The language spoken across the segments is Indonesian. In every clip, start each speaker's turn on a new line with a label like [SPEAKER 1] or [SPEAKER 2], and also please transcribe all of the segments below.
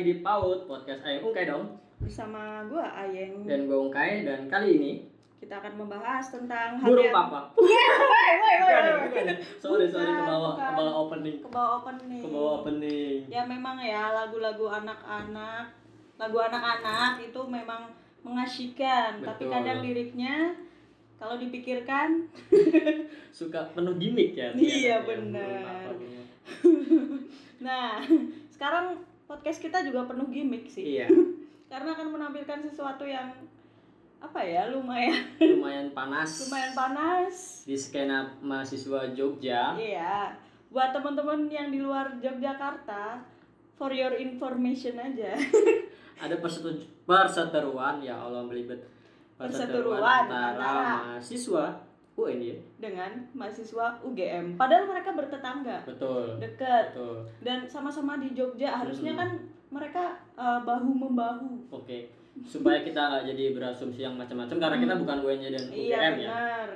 [SPEAKER 1] di PAUD Podcast Ayeng Ungkai dong
[SPEAKER 2] bersama gue Ayeng
[SPEAKER 1] Dan gue Ungkai dan kali ini
[SPEAKER 2] kita akan membahas tentang hal
[SPEAKER 1] Burung
[SPEAKER 2] yang
[SPEAKER 1] Papa
[SPEAKER 2] Woi, woi, woi,
[SPEAKER 1] Bukan,
[SPEAKER 2] woi.
[SPEAKER 1] bukan. Sorry sorry
[SPEAKER 2] Bukan,
[SPEAKER 1] kebawa
[SPEAKER 2] bukan.
[SPEAKER 1] kebawa opening
[SPEAKER 2] ke bawah opening
[SPEAKER 1] Kebawa opening
[SPEAKER 2] ya memang ya lagu-lagu anak-anak lagu anak-anak itu memang mengasyikan tapi
[SPEAKER 1] Betul.
[SPEAKER 2] kadang liriknya kalau dipikirkan
[SPEAKER 1] Suka penuh gimmick ya
[SPEAKER 2] Iya,
[SPEAKER 1] ternyata ya,
[SPEAKER 2] bener.
[SPEAKER 1] Burung Papa memang.
[SPEAKER 2] nah sekarang podcast kita juga penuh gimmick sih
[SPEAKER 1] Iya
[SPEAKER 2] karena akan menampilkan sesuatu yang apa ya lumayan
[SPEAKER 1] lumayan panas
[SPEAKER 2] lumayan panas
[SPEAKER 1] Di skena mahasiswa Jogja
[SPEAKER 2] Iya, buat teman-teman yang di luar Yogyakarta, for your information aja.
[SPEAKER 1] Ada persetuj- perseteruan ya Allah belibet
[SPEAKER 2] Perseteruan antara-
[SPEAKER 1] antara mahasiswa UN ya
[SPEAKER 2] Dengan mahasiswa UGM. Padahal mereka bertetangga,
[SPEAKER 1] Betul
[SPEAKER 2] deket,
[SPEAKER 1] Betul
[SPEAKER 2] dan sama-sama di Jogja. Harusnya
[SPEAKER 1] Hmm.
[SPEAKER 2] kan mereka eh, bahu membahu.
[SPEAKER 1] Oke, supaya kita nggak jadi berasumsi yang macam-macam karena kita
[SPEAKER 2] Hmm.
[SPEAKER 1] bukan UNJ dan UGM
[SPEAKER 2] Iya
[SPEAKER 1] ya.
[SPEAKER 2] benar.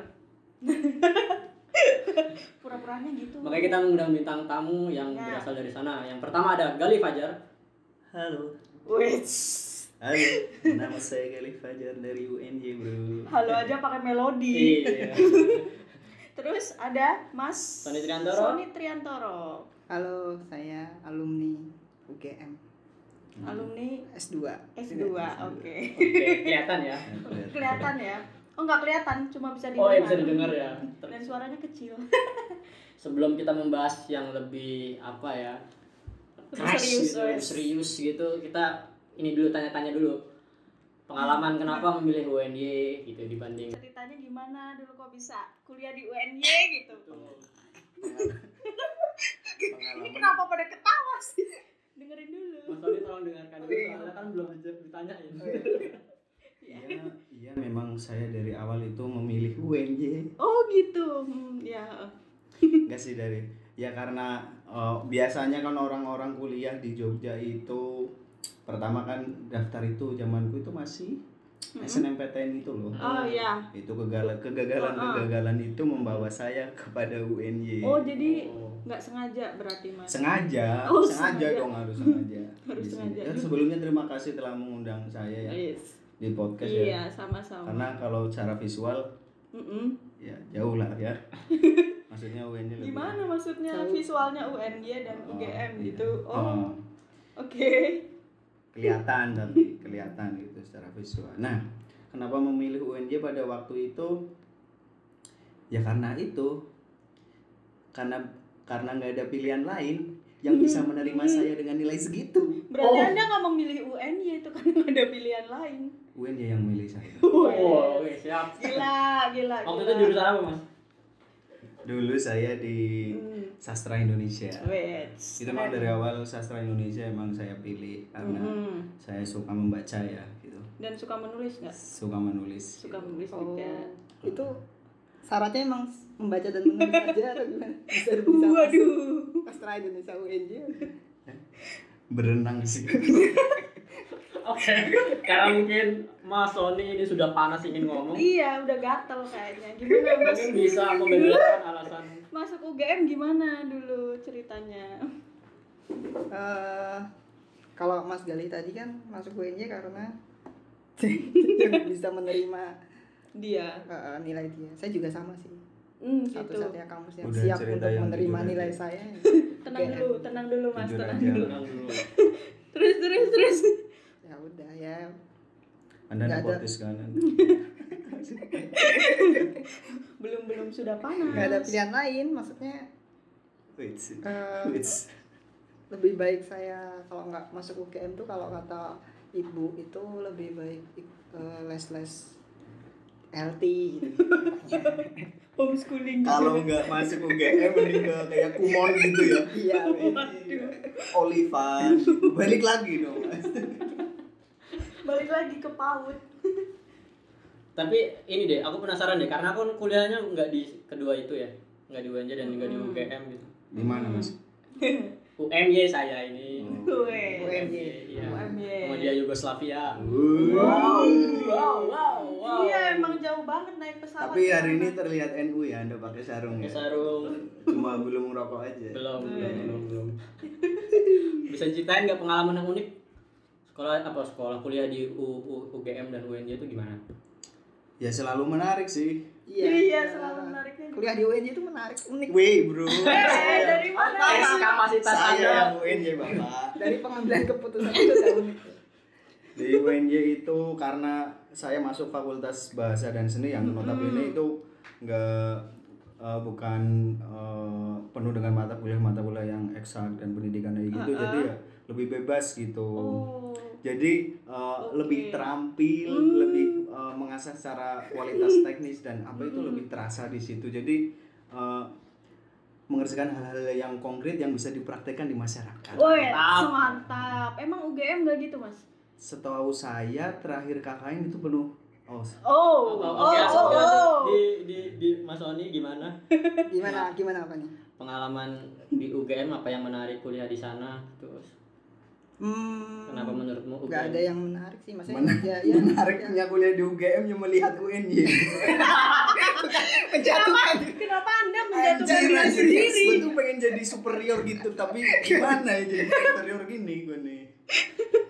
[SPEAKER 2] Pura-puranya gitu.
[SPEAKER 1] Makanya kita mengundang bintang tamu yang
[SPEAKER 2] Ya.
[SPEAKER 1] berasal dari sana. Yang pertama ada Gali Fajar.
[SPEAKER 3] Halo,
[SPEAKER 2] Wits.
[SPEAKER 3] halo. Nama saya Galih Fajar dari UNJ bro.
[SPEAKER 2] Halo aja pakai melodi.
[SPEAKER 1] Iya.
[SPEAKER 2] Terus ada Mas
[SPEAKER 1] Sony Triantoro.
[SPEAKER 2] Sony Triantoro,
[SPEAKER 4] Halo, saya alumni UGM
[SPEAKER 3] Hmm.
[SPEAKER 2] alumni
[SPEAKER 4] S2.
[SPEAKER 2] S2. Oke.
[SPEAKER 1] Oke, kelihatan ya.
[SPEAKER 2] kelihatan ya oh nggak kelihatan cuma iya, bisa
[SPEAKER 1] Oh,
[SPEAKER 2] didengar
[SPEAKER 1] ya bisa didengar ya. Ter-
[SPEAKER 2] dan suaranya kecil
[SPEAKER 1] Sebelum kita membahas yang lebih apa ya?
[SPEAKER 2] Serius,
[SPEAKER 1] gitu,
[SPEAKER 2] wes.
[SPEAKER 1] serius gitu. Kita ini dulu tanya-tanya dulu. Pengalaman kenapa memilih UNJ gitu dibanding
[SPEAKER 2] ceritanya gimana dulu kok bisa kuliah di UNY gitu ini kenapa pada ketawa sih dengerin dulu
[SPEAKER 1] Mas Oli tolong dengarkan dulu soalnya kan belum ditanyain.
[SPEAKER 3] Iya, iya memang saya dari awal itu memilih UNJ.
[SPEAKER 2] oh gitu Hmm, ya
[SPEAKER 3] Enggak sih dari ya karena eh, biasanya kan orang-orang kuliah di Jogja itu pertama kan daftar itu zamanku itu masih
[SPEAKER 2] Mm-mm.
[SPEAKER 3] SNMPTN itu gitu loh.
[SPEAKER 2] oh ya
[SPEAKER 3] Itu kegala- kegagalan
[SPEAKER 2] Oh, oh.
[SPEAKER 3] kegagalan itu membawa saya kepada UNJ.
[SPEAKER 2] oh jadi
[SPEAKER 1] Oh.
[SPEAKER 2] nggak sengaja berarti mas
[SPEAKER 3] Iya. sengaja
[SPEAKER 2] Oh,
[SPEAKER 3] sengaja,
[SPEAKER 2] sengaja.
[SPEAKER 3] dong harus sengaja
[SPEAKER 2] Harus
[SPEAKER 3] Di sini.
[SPEAKER 2] sengaja.
[SPEAKER 3] Dan sebelumnya terima kasih telah mengundang saya ya
[SPEAKER 2] Yes.
[SPEAKER 3] di podcast ya
[SPEAKER 2] iya sama-sama
[SPEAKER 3] karena kalau cara visual
[SPEAKER 2] Mm-mm.
[SPEAKER 3] ya jauh lah ya maksudnya UNJ lebih
[SPEAKER 2] gimana maksudnya visualnya UNY dan
[SPEAKER 3] Oh,
[SPEAKER 2] UGM
[SPEAKER 3] iya.
[SPEAKER 2] gitu oh,
[SPEAKER 3] Oh,
[SPEAKER 2] oke
[SPEAKER 3] kelihatan tapi kelihatan gitu secara visual nah kenapa memilih UNJ pada waktu itu ya karena itu karena karena nggak ada pilihan lain yang bisa menerima saya dengan nilai segitu
[SPEAKER 2] berarti
[SPEAKER 1] Oh.
[SPEAKER 2] anda nggak memilih UNY itu karena nggak ada pilihan lain
[SPEAKER 3] UNJ yang milih saya
[SPEAKER 1] Oh, oke, siap.
[SPEAKER 2] gila gila
[SPEAKER 1] Waktu
[SPEAKER 2] gila.
[SPEAKER 1] itu jurusan apa, Mas?
[SPEAKER 3] dulu saya di
[SPEAKER 2] Hmm.
[SPEAKER 3] sastra Indonesia.
[SPEAKER 2] Wait.
[SPEAKER 3] Itu memang dari awal sastra Indonesia emang saya pilih karena
[SPEAKER 2] Mhm.
[SPEAKER 3] saya suka membaca ya gitu.
[SPEAKER 2] dan suka menulis nggak
[SPEAKER 3] Suka menulis.
[SPEAKER 2] suka menulis
[SPEAKER 4] Oh.
[SPEAKER 2] juga
[SPEAKER 4] Itu syaratnya emang membaca dan menulis aja atau gimana? Bisa bisa.
[SPEAKER 2] waduh
[SPEAKER 4] Sastra Indonesia UNJ.
[SPEAKER 3] Berenang sih.
[SPEAKER 1] Oke. Karena mungkin Mas Sony ini sudah panas ingin ngomong.
[SPEAKER 2] iya udah gatel kayaknya gimana mas
[SPEAKER 1] Mungkin bisa membedakan alasan.
[SPEAKER 2] masuk UGM gimana dulu ceritanya
[SPEAKER 4] Eh, kalau Mas Galih tadi kan masuk UNJ karena yang bisa menerima
[SPEAKER 2] dia
[SPEAKER 4] eh, nilai dia. Saya juga sama sih.
[SPEAKER 2] hmm, gitu
[SPEAKER 4] Satu-satunya kampus yang
[SPEAKER 3] Udah
[SPEAKER 4] siap
[SPEAKER 3] cerita
[SPEAKER 4] untuk
[SPEAKER 3] yang
[SPEAKER 4] menerima
[SPEAKER 3] jujur
[SPEAKER 4] nilai
[SPEAKER 3] aja.
[SPEAKER 4] saya. Ya
[SPEAKER 2] tenang
[SPEAKER 4] UGM.
[SPEAKER 2] dulu tenang dulu mas
[SPEAKER 3] Jujur
[SPEAKER 2] tenang
[SPEAKER 3] aja.
[SPEAKER 2] dulu
[SPEAKER 1] Tenang dulu.
[SPEAKER 2] terus terus terus
[SPEAKER 4] Ya udah ya.
[SPEAKER 3] Anda
[SPEAKER 4] Nggak ada.
[SPEAKER 3] nepotis kan?
[SPEAKER 2] belum belum sudah panas
[SPEAKER 4] Gak ada pilihan lain maksudnya
[SPEAKER 3] Wait.
[SPEAKER 4] eh,
[SPEAKER 3] Wait.
[SPEAKER 4] lebih baik saya kalau nggak masuk UGM tuh kalau kata ibu itu lebih baik eh, les-les LT gitu.
[SPEAKER 2] homeschooling
[SPEAKER 3] Kalau
[SPEAKER 2] gitu.
[SPEAKER 3] nggak masuk UGM mending ke kayak Kumon gitu ya.
[SPEAKER 4] Iya.
[SPEAKER 2] Waduh.
[SPEAKER 3] Olivan. Balik lagi dong, Mas.
[SPEAKER 2] balik lagi ke PAUD
[SPEAKER 1] Tapi ini deh, aku penasaran deh karena aku kuliahnya nggak di kedua itu ya. Nggak di UNJ dan nggak di
[SPEAKER 2] Hmm.
[SPEAKER 1] UGM gitu.
[SPEAKER 3] Di mana, Mas?
[SPEAKER 1] UMY saya ini.
[SPEAKER 2] gue
[SPEAKER 4] UMY.
[SPEAKER 1] Iya.
[SPEAKER 2] UMY.
[SPEAKER 1] Kemudian Yugoslavia.
[SPEAKER 3] Wow.
[SPEAKER 1] Wow, wow, wow.
[SPEAKER 2] Iya emang jauh banget naik pesawat.
[SPEAKER 3] Tapi hari ini terlihat NU ya, Anda pakai sarung
[SPEAKER 1] Pakai
[SPEAKER 3] ya.
[SPEAKER 1] sarung.
[SPEAKER 3] Cuma belum merokok aja.
[SPEAKER 1] Hmm. Belum, belum, belum, belum. Bisa ceritain nggak pengalaman yang unik? sekolah apa sekolah kuliah di U- U- UGM dan UNJ itu gimana?
[SPEAKER 3] ya selalu menarik sih
[SPEAKER 2] Iya, selalu menariknya.
[SPEAKER 4] Kuliah di UNJ itu menarik, unik.
[SPEAKER 3] wih bro
[SPEAKER 2] Eh, dari mana?
[SPEAKER 1] Tes kapasitas
[SPEAKER 3] saya
[SPEAKER 1] Anda.
[SPEAKER 3] yang UNJ bapak
[SPEAKER 4] Dari pengambilan keputusan itu udah unik.
[SPEAKER 3] di UNJ itu karena saya masuk fakultas bahasa dan seni yang notabene itu nggak eh, bukan eh, penuh dengan mata kuliah mata kuliah yang eksak dan pendidikan kayak gitu jadi ya lebih bebas gitu
[SPEAKER 2] Oh.
[SPEAKER 3] jadi eh, lebih terampil lebih eh, mengasah secara kualitas teknis dan apa itu lebih terasa di situ jadi eh, mengerjakan hal-hal yang konkret yang bisa dipraktekkan di masyarakat
[SPEAKER 2] Woi, semantap. Emang UGM gak gitu, Mas?
[SPEAKER 3] setahu saya terakhir KKN itu penuh oh
[SPEAKER 2] Oh,
[SPEAKER 1] Oh,
[SPEAKER 2] oh,
[SPEAKER 1] oke, oke.
[SPEAKER 2] oh.
[SPEAKER 1] Di di di Mas Oni gimana?
[SPEAKER 4] Gimana gimana apa nih?
[SPEAKER 1] Pengalaman di UGM apa yang menarik kuliah di sana? Terus
[SPEAKER 4] Hmm,
[SPEAKER 1] kenapa menurutmu UGM?
[SPEAKER 4] Gak
[SPEAKER 2] ya.
[SPEAKER 4] ada yang menarik sih maksudnya.
[SPEAKER 3] Menarik.
[SPEAKER 4] ya, ya, ya.
[SPEAKER 3] menariknya kuliah di UGM yang melihat UNY
[SPEAKER 4] Menjatuhkan.
[SPEAKER 2] Kenapa Anda menjatuhkan
[SPEAKER 3] Anjir,
[SPEAKER 2] diri
[SPEAKER 3] anjir,
[SPEAKER 2] sendiri?
[SPEAKER 3] gue tuh pengen jadi superior gitu tapi gimana ya jadi superior gini gue nih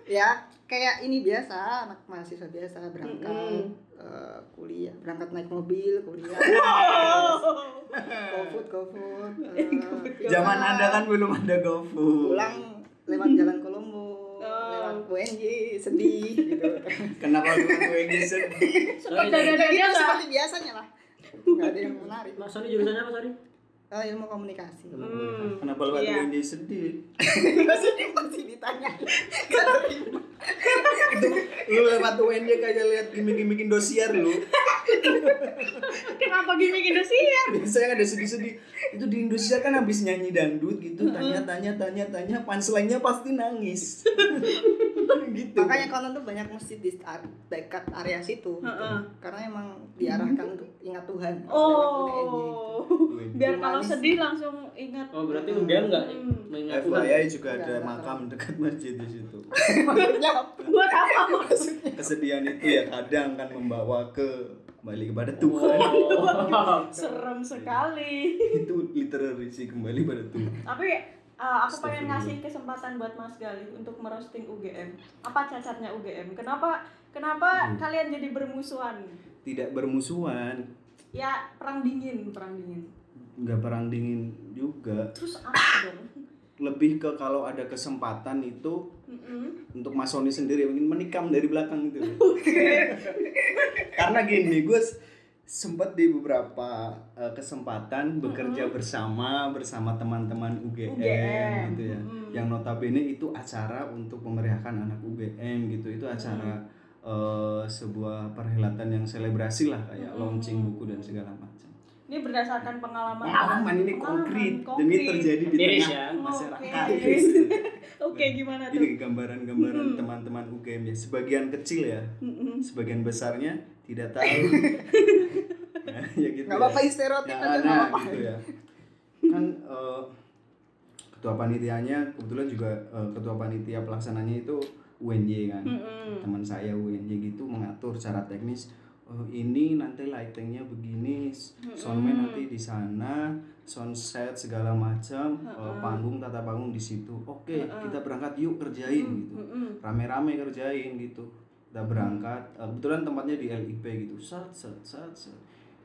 [SPEAKER 4] ya kayak ini biasa anak mahasiswa biasa berangkat
[SPEAKER 2] Mm-mm.
[SPEAKER 4] eh, kuliah berangkat naik mobil kuliah GoFood GoFood eh,
[SPEAKER 3] zaman anda kan belum ada GoFood
[SPEAKER 4] pulang lewat jalan Kolombo
[SPEAKER 2] Oh.
[SPEAKER 4] lewat UNJ sedih gitu
[SPEAKER 3] kenapa dulu UNY sedih
[SPEAKER 1] Sorry,
[SPEAKER 2] Jangan-
[SPEAKER 1] sorry.
[SPEAKER 4] Dan itu
[SPEAKER 2] Biasa.
[SPEAKER 4] seperti biasanya lah nggak ada yang menarik
[SPEAKER 1] Mas Oni jurusannya apa sorry?
[SPEAKER 4] Eh, ilmu komunikasi
[SPEAKER 2] Hmm.
[SPEAKER 3] kenapa lewat
[SPEAKER 2] Iya.
[SPEAKER 3] UNY sedih
[SPEAKER 4] maksudnya pasti ditanya Nggak terima.
[SPEAKER 3] lu lewat UNY kayak lihat gimmick-gimmickin dosier lu
[SPEAKER 2] Kenapa gimmick Indonesia?
[SPEAKER 3] biasanya ada sedih-sedih itu di Indonesia kan habis nyanyi dangdut gitu tanya tanya tanya tanya punchline-nya pasti nangis gitu
[SPEAKER 4] makanya konon tuh banyak masjid di ar- dekat area situ gitu.
[SPEAKER 2] Heeh.
[SPEAKER 4] karena emang diarahkan untuk ingat Tuhan lewat UNJ gitu.
[SPEAKER 2] Oh. Biar kalau
[SPEAKER 4] Humanis.
[SPEAKER 2] sedih langsung ingat.
[SPEAKER 1] Oh, berarti UGM enggak
[SPEAKER 2] Hmm.
[SPEAKER 1] mengingat Tuhan.
[SPEAKER 3] FYI juga ada makam dekat masjid di situ.
[SPEAKER 4] Maksudnya apa?
[SPEAKER 2] Buat apa maksudnya?
[SPEAKER 3] Kesedihan itu ya kadang kan membawa ke kembali kepada Tuhan.
[SPEAKER 1] Oh.
[SPEAKER 2] Serem sekali.
[SPEAKER 3] Itu literally sih kembali pada Tuhan.
[SPEAKER 2] Tapi eh, aku pengen ngasih kesempatan buat Mas Galih untuk merosting UGM. Apa cacatnya UGM? Kenapa kenapa
[SPEAKER 3] Hmm.
[SPEAKER 2] kalian jadi bermusuhan?
[SPEAKER 3] Tidak bermusuhan,
[SPEAKER 2] Ya perang dingin, perang dingin.
[SPEAKER 3] nggak perang dingin juga.
[SPEAKER 2] Terus apa dong?
[SPEAKER 3] Lebih ke kalau ada kesempatan itu
[SPEAKER 2] Mm-mm.
[SPEAKER 3] untuk Masoni sendiri ingin menikam dari belakang gitu. Karena gini, gue s- sempat di beberapa eh, kesempatan bekerja bersama bersama teman-teman UGM,
[SPEAKER 2] UGM,
[SPEAKER 3] gitu ya.
[SPEAKER 2] mm.
[SPEAKER 3] Yang notabene itu acara untuk memeriahkan anak UGM gitu. Itu acara eh, sebuah perhelatan yang selebrasi lah kayak
[SPEAKER 2] Mm.
[SPEAKER 3] launching buku dan segala macam.
[SPEAKER 2] Ini berdasarkan pengalaman.
[SPEAKER 3] Pengalaman ini konkret dan ini terjadi di
[SPEAKER 1] Empiris
[SPEAKER 3] tengah
[SPEAKER 1] ya.
[SPEAKER 2] Oke.
[SPEAKER 3] masyarakat.
[SPEAKER 2] Oke, gimana tuh?
[SPEAKER 3] Ini gambaran-gambaran
[SPEAKER 2] Mm.
[SPEAKER 3] teman-teman UGM ya, sebagian kecil ya,
[SPEAKER 2] Mm-mm.
[SPEAKER 3] sebagian besarnya tidak tahu ya, ya gitu
[SPEAKER 4] Gak apa-apa
[SPEAKER 3] ya.
[SPEAKER 4] ini stereotip
[SPEAKER 3] Yang
[SPEAKER 4] aja
[SPEAKER 3] ada
[SPEAKER 4] gak apa-apa
[SPEAKER 3] gitu ya kan eh, ketua panitianya kebetulan juga eh, ketua panitia pelaksananya itu UNJ kan
[SPEAKER 4] Hmm,
[SPEAKER 2] Mm-mm.
[SPEAKER 3] teman saya UNJ gitu mengatur secara teknis oh, ini nanti lightingnya begini s-
[SPEAKER 4] Hmm,
[SPEAKER 3] soundman nanti di sana soundset segala macam
[SPEAKER 4] Hmm,
[SPEAKER 3] eh, panggung tata panggung di situ oke kita berangkat yuk kerjain
[SPEAKER 4] Hmm,
[SPEAKER 3] gitu
[SPEAKER 2] Mm-mm.
[SPEAKER 3] rame-rame kerjain gitu kita berangkat eh, kebetulan tempatnya di LIP gitu set set set set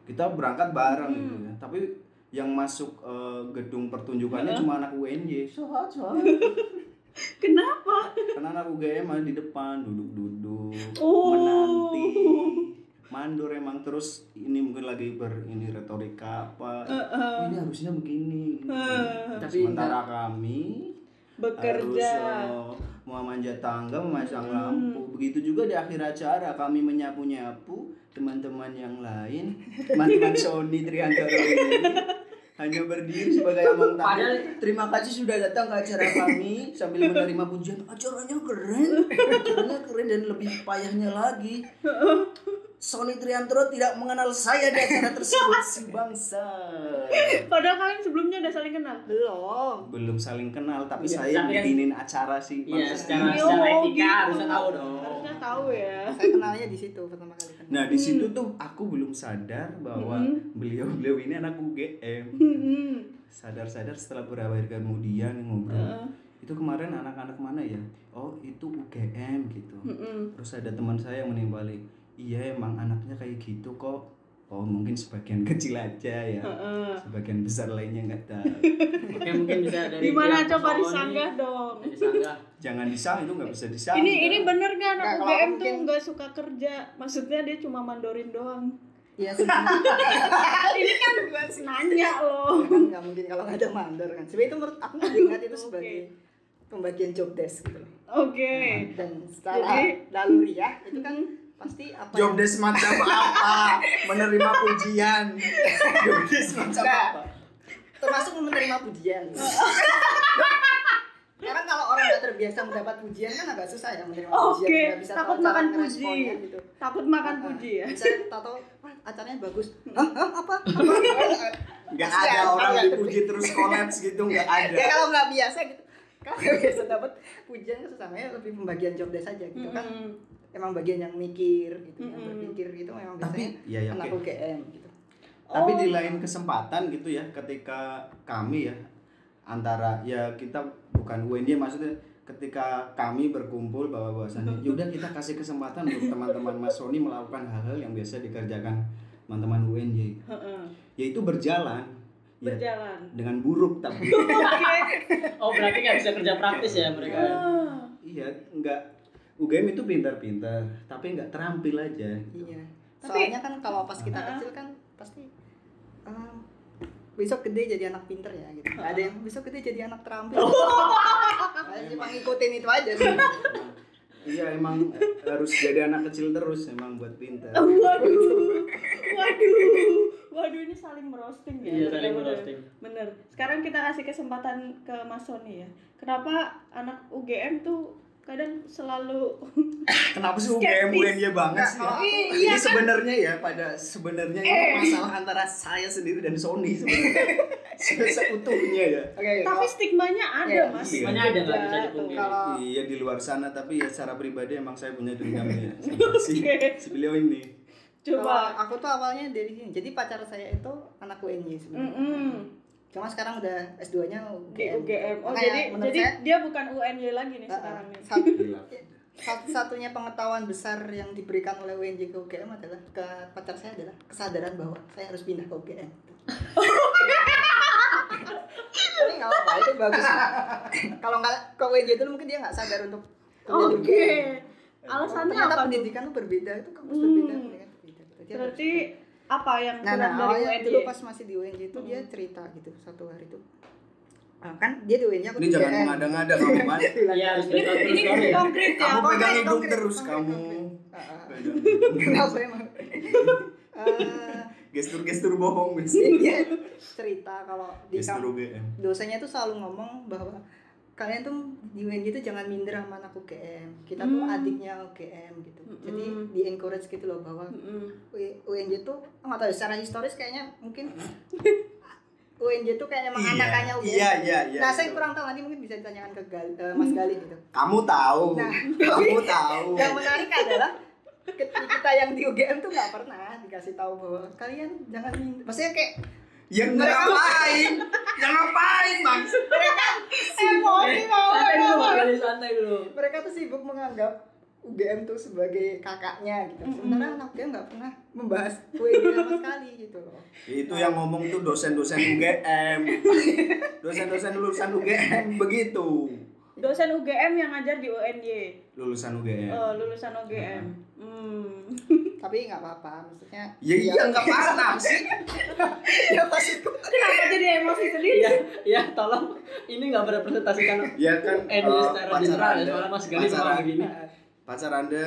[SPEAKER 3] kita berangkat bareng gitu ya tapi yang masuk eh, gedung pertunjukannya cuma anak UNJ set set
[SPEAKER 2] Kenapa?
[SPEAKER 3] karena anak UGM ada di depan duduk-duduk
[SPEAKER 2] Oh.
[SPEAKER 3] menanti mandur emang terus ini mungkin lagi ber ini retorika apa "Oh, ini harusnya begini
[SPEAKER 4] Tapi
[SPEAKER 3] sementara kami
[SPEAKER 2] Bekerja.
[SPEAKER 3] harus eh, memanjat tangga memasang lampu begitu juga di akhir acara kami menyapu nyapu teman-teman yang lain teman-teman Sony Triantoro ini hanya berdiri sebagai amang tamu terima kasih sudah datang ke acara kami sambil menerima pujian acaranya keren acaranya keren dan lebih payahnya lagi Sony Triantoro tidak mengenal saya di acara tersebut si bangsa
[SPEAKER 2] Padahal kalian sebelumnya udah saling kenal.
[SPEAKER 4] Belum
[SPEAKER 3] belum saling kenal tapi
[SPEAKER 1] Iya,
[SPEAKER 3] saya
[SPEAKER 1] tapi kan-
[SPEAKER 3] bikinin acara sih
[SPEAKER 1] Iya,
[SPEAKER 3] Maksudnya-
[SPEAKER 1] secara
[SPEAKER 2] Iya,
[SPEAKER 1] secara
[SPEAKER 2] oh,
[SPEAKER 1] etika
[SPEAKER 2] gitu.
[SPEAKER 1] harusnya tahu dong.
[SPEAKER 2] Harusnya tahu ya.
[SPEAKER 4] Saya kenalnya di situ pertama kali kenal
[SPEAKER 3] nah di
[SPEAKER 2] Hmm.
[SPEAKER 3] situ tuh aku belum sadar bahwa beliau-beliau ini anak UGM
[SPEAKER 2] Mm-mm.
[SPEAKER 3] sadar-sadar setelah beberapa hari kemudian ngobrol itu kemarin anak-anak mana ya oh itu UGM gitu
[SPEAKER 2] Hmm.
[SPEAKER 4] Mm-mm.
[SPEAKER 3] terus ada teman saya yang menimbali iya emang anaknya kayak gitu kok oh mungkin sebagian kecil aja
[SPEAKER 2] Eh,
[SPEAKER 3] ya
[SPEAKER 4] Heeh.
[SPEAKER 3] sebagian besar lainnya nggak tahu
[SPEAKER 1] Oke, mungkin bisa dari
[SPEAKER 2] Gimana
[SPEAKER 1] pihak
[SPEAKER 2] coba
[SPEAKER 1] Solo nih.
[SPEAKER 2] disanggah dong?
[SPEAKER 1] Disanggah.
[SPEAKER 3] jangan disang itu nggak bisa disang
[SPEAKER 2] Ini ini bener gak anak
[SPEAKER 4] Nggak, kalau
[SPEAKER 2] UGM
[SPEAKER 4] mungkin-
[SPEAKER 2] tuh nggak suka kerja? Maksudnya dia cuma mandorin doang.
[SPEAKER 4] Iya sih. kan
[SPEAKER 2] ini kan gue nanya loh.
[SPEAKER 4] Oh. nggak mungkin kalau nggak ada mandor kan. Sebenarnya itu menurut aku melihat itu sebagai pembagian job desk gitu. loh.
[SPEAKER 2] Oke.
[SPEAKER 4] Dan secara
[SPEAKER 2] Jadi-
[SPEAKER 4] laluriah itu kan pasti apa? yang-
[SPEAKER 3] Jobdesk macam apa? Menerima pujian. Jobdesk macam
[SPEAKER 4] Nah.
[SPEAKER 3] apa?
[SPEAKER 4] termasuk menerima pujian. Karena kalau orang nggak terbiasa mendapat pujian kan agak susah ya menerima
[SPEAKER 2] Oke,
[SPEAKER 4] pujian. Nggak bisa
[SPEAKER 2] takut
[SPEAKER 4] tahu cara
[SPEAKER 2] makan
[SPEAKER 4] ngeresponnya
[SPEAKER 2] puji.
[SPEAKER 4] Gitu.
[SPEAKER 2] Takut makan puji ya. Hmm.
[SPEAKER 4] Misalnya tahu acaranya bagus. Hah, hah, apa? apa? Gitu kan.
[SPEAKER 3] Gak
[SPEAKER 4] Pasti
[SPEAKER 3] ada
[SPEAKER 4] ada
[SPEAKER 3] orang
[SPEAKER 4] nggak
[SPEAKER 3] dipuji terus kolaps gitu, gak
[SPEAKER 4] ya
[SPEAKER 3] ada.
[SPEAKER 4] kalau nggak biasa gitu. Kalau nggak biasa dapat pujian kan susah. Makanya lebih pembagian job desk aja gitu kan.
[SPEAKER 2] Mm-mm.
[SPEAKER 4] Emang bagian yang mikir gitu, yang
[SPEAKER 2] Mm-mm.
[SPEAKER 4] berpikir itu memang biasanya
[SPEAKER 3] Tapi ya ya
[SPEAKER 4] anak
[SPEAKER 3] oke.
[SPEAKER 4] UGM gitu.
[SPEAKER 3] Tapi di
[SPEAKER 2] Oh.
[SPEAKER 3] lain kesempatan gitu ya, ketika kami ya antara ya kita bukan UNJ maksudnya ketika kami berkumpul bahwa bahwasannya yaudah kita kasih kesempatan untuk teman-teman Mas Sony melakukan hal-hal yang biasa dikerjakan teman-teman UNJ
[SPEAKER 2] Heeh.
[SPEAKER 3] yaitu berjalan ya,
[SPEAKER 4] Iya.
[SPEAKER 2] Berjalan.
[SPEAKER 3] dengan buruk tapi
[SPEAKER 2] Oke.
[SPEAKER 1] Oh, berarti nggak bisa kerja praktis ya mereka.
[SPEAKER 2] Ah.
[SPEAKER 3] Iya, enggak. UGM itu pintar-pintar, tapi enggak terampil aja. gitu.
[SPEAKER 4] Iya.
[SPEAKER 2] Tapi-
[SPEAKER 4] Soalnya kan kalau pas kita
[SPEAKER 2] Ah.
[SPEAKER 4] kecil kan pasti ah, besok gede jadi anak pinter ya gitu. Nggak ada yang besok gede jadi anak terampil.
[SPEAKER 2] Oh.
[SPEAKER 4] Makanya cuma ngikutin itu aja sih.
[SPEAKER 3] Iya, emang eh, harus jadi anak kecil terus emang buat pintar.
[SPEAKER 4] Iya. Oh,
[SPEAKER 2] Waduh. Waduh. Waduh ini saling merosting ya.
[SPEAKER 1] Iya, saling
[SPEAKER 2] Bener-bener.
[SPEAKER 1] roasting.
[SPEAKER 2] Bener. Sekarang kita kasih kesempatan ke Mas Sony ya. Kenapa anak UGM tuh kadang selalu
[SPEAKER 3] Kenapa sih
[SPEAKER 2] Skeptis.
[SPEAKER 3] UGM UNY banget
[SPEAKER 4] Nggak, oh,
[SPEAKER 3] sih? ya?
[SPEAKER 4] kalau aku-
[SPEAKER 2] Iya,
[SPEAKER 3] Ini
[SPEAKER 2] kan?
[SPEAKER 3] sebenarnya ya pada sebenarnya ini
[SPEAKER 2] Eh.
[SPEAKER 3] masalah antara saya sendiri dan Sony sebenarnya. Se- Seutuhnya ya.
[SPEAKER 4] Oke,
[SPEAKER 2] tapi
[SPEAKER 4] kalau-
[SPEAKER 2] stigmanya
[SPEAKER 4] Iya,
[SPEAKER 2] ada Mas.
[SPEAKER 3] stigmanya
[SPEAKER 1] ada, nggak bisa
[SPEAKER 2] Tuh.
[SPEAKER 1] dipungkiri.
[SPEAKER 4] kalau
[SPEAKER 3] Iya di luar sana tapi ya secara pribadi emang saya punya dendamnya si, si,
[SPEAKER 2] Oke.
[SPEAKER 3] si beliau ini.
[SPEAKER 2] Coba.
[SPEAKER 4] kalau aku tuh awalnya dari sini. Jadi pacar saya itu anak UNY sebenarnya.
[SPEAKER 2] Mm-mm.
[SPEAKER 4] Cuma sekarang udah S2-nya UGM.
[SPEAKER 2] di UGM. Oh
[SPEAKER 4] Makanya
[SPEAKER 2] jadi
[SPEAKER 4] menurut
[SPEAKER 2] jadi
[SPEAKER 4] saya,
[SPEAKER 2] dia bukan UNY lagi nih
[SPEAKER 4] ah, ah,
[SPEAKER 2] sekarang nih.
[SPEAKER 4] satu-
[SPEAKER 3] Gila.
[SPEAKER 4] satu-satunya pengetahuan besar yang diberikan oleh UNJ ke UGM adalah ke pacar saya adalah kesadaran bahwa saya harus pindah ke UGM. Tapi nggak apa-apa itu bagus. Kalau nggak ke UNJ itu mungkin dia nggak sadar untuk kuliah di
[SPEAKER 2] Oke.
[SPEAKER 4] UGM.
[SPEAKER 2] Alasannya
[SPEAKER 4] Iya. Ternyata
[SPEAKER 2] apa? tuh?
[SPEAKER 4] pendidikan itu berbeda itu kampus
[SPEAKER 2] Hmm.
[SPEAKER 4] berbeda pendidikan berbeda. Jadi harus-
[SPEAKER 2] Berarti apa yang
[SPEAKER 4] nah,
[SPEAKER 2] kurang
[SPEAKER 4] nah
[SPEAKER 2] dari
[SPEAKER 4] awalnya
[SPEAKER 2] UNY?
[SPEAKER 4] dulu pas masih di UNJ itu
[SPEAKER 2] Hmm.
[SPEAKER 4] dia cerita gitu satu hari itu Ah, kan dia di UNJ aku
[SPEAKER 3] Ini
[SPEAKER 4] di
[SPEAKER 3] jangan
[SPEAKER 4] UGM.
[SPEAKER 3] mengada-ngada kamu Mas.
[SPEAKER 1] Iya, harus
[SPEAKER 4] Ini-
[SPEAKER 1] backup terus
[SPEAKER 2] ini
[SPEAKER 1] dong ya.
[SPEAKER 2] konkret ya.
[SPEAKER 3] Kamu
[SPEAKER 4] Konkret,
[SPEAKER 3] pegang hidup
[SPEAKER 4] konkret,
[SPEAKER 3] terus
[SPEAKER 4] konkret,
[SPEAKER 3] kamu.
[SPEAKER 4] Ah, ah.
[SPEAKER 3] Pegang.
[SPEAKER 4] Kenapa emang? Eh,
[SPEAKER 3] gestur-gestur bohong Mas.
[SPEAKER 4] dia Eh, iya, cerita kalau di
[SPEAKER 3] gestur
[SPEAKER 4] kamp-
[SPEAKER 3] UGM.
[SPEAKER 4] dosennya tuh selalu ngomong bahwa kalian tuh di UNJ itu jangan minder sama anak UGM. Kita tuh
[SPEAKER 2] Hmm.
[SPEAKER 4] adiknya UGM gitu. Jadi
[SPEAKER 2] Mm-mm.
[SPEAKER 4] di encourage gitu loh bahwa
[SPEAKER 2] Mm-mm.
[SPEAKER 4] U- UNJ tuh nggak tahu secara historis kayaknya mungkin UNJ tuh kayak emang
[SPEAKER 3] Iya,
[SPEAKER 4] anakannya UGM.
[SPEAKER 3] iya, iya, iya,
[SPEAKER 4] Nah, saya
[SPEAKER 3] betul.
[SPEAKER 4] kurang tahu nanti mungkin bisa ditanyakan ke Gal- eh, Mas Galih gitu.
[SPEAKER 3] Kamu tahu.
[SPEAKER 4] Nah.
[SPEAKER 3] Kamu tahu.
[SPEAKER 4] yang menarik adalah ketika kita yang di UGM tuh nggak pernah dikasih tahu bahwa kalian jangan minder. maksudnya kayak
[SPEAKER 3] Ya ngapain? ya ngapain, Bang?
[SPEAKER 1] Eh, Santai dulu, Mas Gali, santai dulu.
[SPEAKER 4] mereka tuh sibuk menganggap UGM tuh sebagai kakaknya gitu sementara anak UGM nggak pernah membahas kue sama sekali gitu loh
[SPEAKER 3] Itu yang ngomong tuh dosen-dosen UGM. Dosen-dosen lulusan UGM begitu.
[SPEAKER 2] Dosen UGM yang ngajar di UNY.
[SPEAKER 3] Lulusan
[SPEAKER 4] Iya.
[SPEAKER 3] UGM.
[SPEAKER 2] Oh, lulusan UGM. Hmm.
[SPEAKER 4] tapi nggak apa-apa maksudnya
[SPEAKER 3] Ya iya enggak parah sih.
[SPEAKER 4] ya maksudku
[SPEAKER 2] Kenapa jadi emosi sendiri?
[SPEAKER 1] Iya, iya, tolong ini nggak merepresentasikan
[SPEAKER 3] Ya kan
[SPEAKER 1] Eh,
[SPEAKER 3] eh,
[SPEAKER 1] secara general ya, soalnya Mas Galih
[SPEAKER 3] pacar
[SPEAKER 1] ngomong
[SPEAKER 3] Anda-
[SPEAKER 1] begini.
[SPEAKER 3] pacar Anda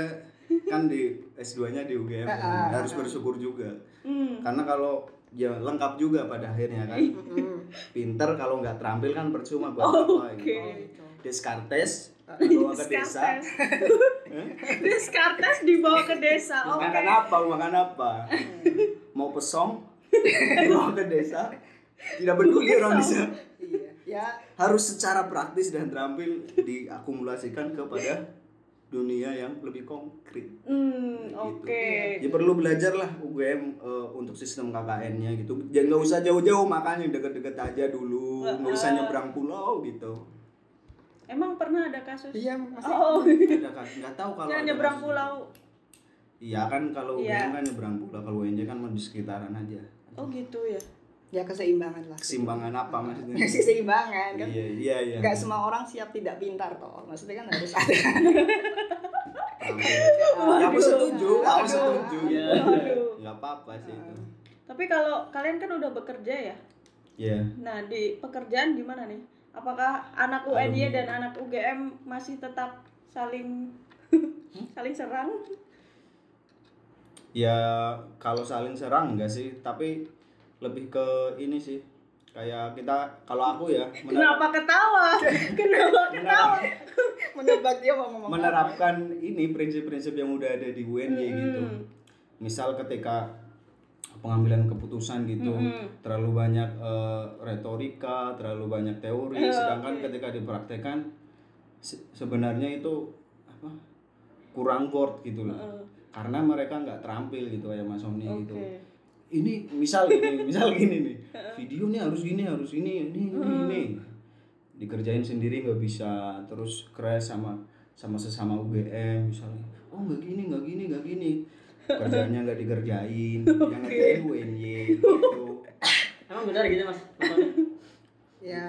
[SPEAKER 3] kan di S2-nya di UGM.
[SPEAKER 4] Ah, ah,
[SPEAKER 3] Harus
[SPEAKER 4] ah.
[SPEAKER 3] bersyukur juga.
[SPEAKER 2] Hmm.
[SPEAKER 3] Karena kalau ya lengkap juga pada akhirnya kan.
[SPEAKER 4] Mm-mm.
[SPEAKER 3] pinter kalau nggak terampil kan percuma buat
[SPEAKER 2] Oh,
[SPEAKER 3] apa gitu.
[SPEAKER 2] Oke.
[SPEAKER 4] Oh, gitu.
[SPEAKER 3] Descartes bawa ke desa.
[SPEAKER 2] Descartes.
[SPEAKER 3] Hah?
[SPEAKER 2] Descartes dibawa ke desa. Ah, Oke. Hmm.
[SPEAKER 3] Makan apa? Makan apa? Mau pesong? bawa ke desa. Tidak peduli orang desa.
[SPEAKER 4] iya ya
[SPEAKER 3] Harus secara praktis dan terampil diakumulasikan kepada dunia yang lebih konkret.
[SPEAKER 2] Hmm,
[SPEAKER 3] Gitu.
[SPEAKER 2] oke.
[SPEAKER 3] Ya perlu belajar lah UGM eh, untuk sistem KKN-nya gitu. Jangan nggak ya, usah jauh-jauh makanya deket-deket aja dulu. Nggak usah nyebrang pulau gitu.
[SPEAKER 2] Emang pernah ada kasus?
[SPEAKER 4] Iya, masih
[SPEAKER 2] Oh,
[SPEAKER 3] Ada kan? Nggak tahu kalau
[SPEAKER 2] yang
[SPEAKER 3] ada
[SPEAKER 2] nyebrang
[SPEAKER 3] kasus.
[SPEAKER 2] pulau.
[SPEAKER 3] Iya kan kalau
[SPEAKER 2] Iya.
[SPEAKER 3] UGM kan nyebrang pulau, kalau UNJ kan mau di sekitaran aja.
[SPEAKER 2] Oh gitu ya.
[SPEAKER 4] ya keseimbangan lah.
[SPEAKER 3] Keseimbangan apa maksudnya?
[SPEAKER 4] Keseimbangan kan.
[SPEAKER 3] Iya, iya, iya.
[SPEAKER 4] Enggak semua orang siap tidak pintar toh. Maksudnya kan harus ada.
[SPEAKER 3] Kamu Ya, setuju, kamu
[SPEAKER 4] Waduh.
[SPEAKER 3] setuju. Ya,
[SPEAKER 1] Iya.
[SPEAKER 2] Waduh.
[SPEAKER 3] Nggak apa-apa sih itu.
[SPEAKER 2] Tapi kalau kalian kan udah bekerja ya.
[SPEAKER 3] Iya.
[SPEAKER 2] Nah, di pekerjaan gimana nih? Apakah anak UNY dan anak UGM masih tetap saling saling serang?
[SPEAKER 3] Ya kalau saling serang enggak sih, tapi lebih ke ini sih. Kayak kita kalau aku ya menerap-
[SPEAKER 2] Kenapa ketawa? Kenapa ketawa?
[SPEAKER 4] Menebak dia mau ngomong.
[SPEAKER 3] menerapkan ini prinsip-prinsip yang udah ada di UNY gitu.
[SPEAKER 2] Mm-mm.
[SPEAKER 3] Misal ketika pengambilan keputusan gitu
[SPEAKER 2] Mm-mm.
[SPEAKER 3] terlalu banyak eh, retorika, terlalu banyak teori,
[SPEAKER 2] Eh,
[SPEAKER 3] sedangkan
[SPEAKER 2] oke.
[SPEAKER 3] ketika dipraktekkan se- sebenarnya itu apa kurang word gitu loh.
[SPEAKER 2] Eh,
[SPEAKER 3] Karena mereka nggak terampil gitu kayak Mas Omni gitu.
[SPEAKER 2] Oke.
[SPEAKER 3] Ini misal gini, misal gini nih. Video nih harus gini, harus ini, ini, ini, ini.
[SPEAKER 4] Hmm.
[SPEAKER 3] Dikerjain sendiri nggak bisa, terus crash sama sama sesama UGM misalnya. Oh nggak gini, nggak gini, nggak gini. Kerjanya nggak dikerjain, yang ngerjain UNY gitu.
[SPEAKER 1] Emang benar gitu mas? Maksudnya?
[SPEAKER 4] Ya,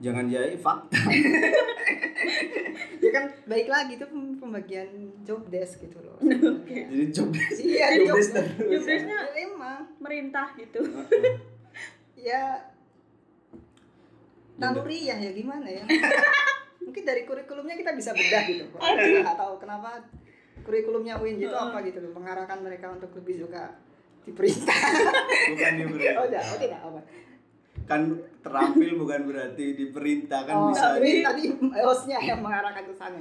[SPEAKER 3] Jangan jadi fakta. Iya
[SPEAKER 4] ya kan baik lagi itu pem- pembagian job desk gitu loh.
[SPEAKER 3] Jadi job
[SPEAKER 4] Iya,
[SPEAKER 3] Job
[SPEAKER 4] job
[SPEAKER 3] desk.
[SPEAKER 2] Job desknya
[SPEAKER 4] Ya, emang
[SPEAKER 2] merintah gitu.
[SPEAKER 4] ya naluri ya ya gimana ya. Mungkin dari kurikulumnya kita bisa bedah gitu. Kita nggak tahu kenapa kurikulumnya UIN itu apa gitu loh, mengarahkan mereka untuk lebih suka diperintah.
[SPEAKER 3] bukan diperintah.
[SPEAKER 4] oh, tidak, oh, tidak apa.
[SPEAKER 3] Kan terampil bukan berarti diperintah kan
[SPEAKER 4] Oh,
[SPEAKER 3] bisa.
[SPEAKER 4] tapi tadi hostnya yang mengarahkan ke sana.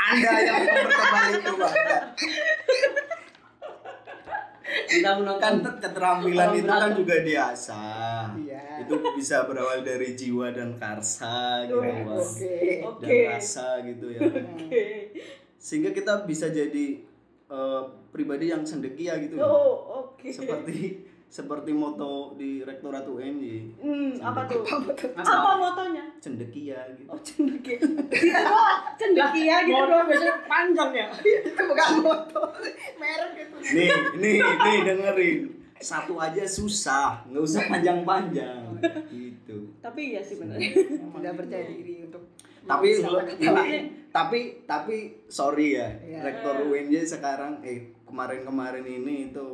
[SPEAKER 3] Anda yang mempertebal itu Pak.
[SPEAKER 1] Kita menonton
[SPEAKER 3] Kan tet- keterampilan itu kan juga diasah.
[SPEAKER 4] Iya.
[SPEAKER 3] Itu bisa berawal dari jiwa dan karsa gitu
[SPEAKER 2] Oke.
[SPEAKER 3] Pak.
[SPEAKER 4] Oke.
[SPEAKER 3] Dan
[SPEAKER 2] Oke.
[SPEAKER 3] rasa gitu ya.
[SPEAKER 4] Hmm.
[SPEAKER 2] Oke.
[SPEAKER 3] Sehingga kita bisa jadi eh, pribadi yang sendekia gitu.
[SPEAKER 2] Oh, oke.
[SPEAKER 3] Seperti seperti moto di Rektorat ya. UNY,
[SPEAKER 2] Hmm, apa tuh? Apa
[SPEAKER 1] apa?
[SPEAKER 2] motonya?
[SPEAKER 3] cendekia gitu.
[SPEAKER 2] Oh, cendekia. Gitu doang. Cendekia gitu doang.
[SPEAKER 1] biasanya panjang ya.
[SPEAKER 4] Itu bukan moto, merek itu.
[SPEAKER 3] nih nih nih dengerin satu aja susah nggak usah panjang-panjang gitu
[SPEAKER 2] Tapi iya sih benar.
[SPEAKER 4] Tidak percaya diri untuk
[SPEAKER 3] tapi
[SPEAKER 4] Sama
[SPEAKER 3] lo- ini tapi tapi sorry ya
[SPEAKER 4] Iya.
[SPEAKER 3] rektor UNJ sekarang eh kemarin-kemarin ini itu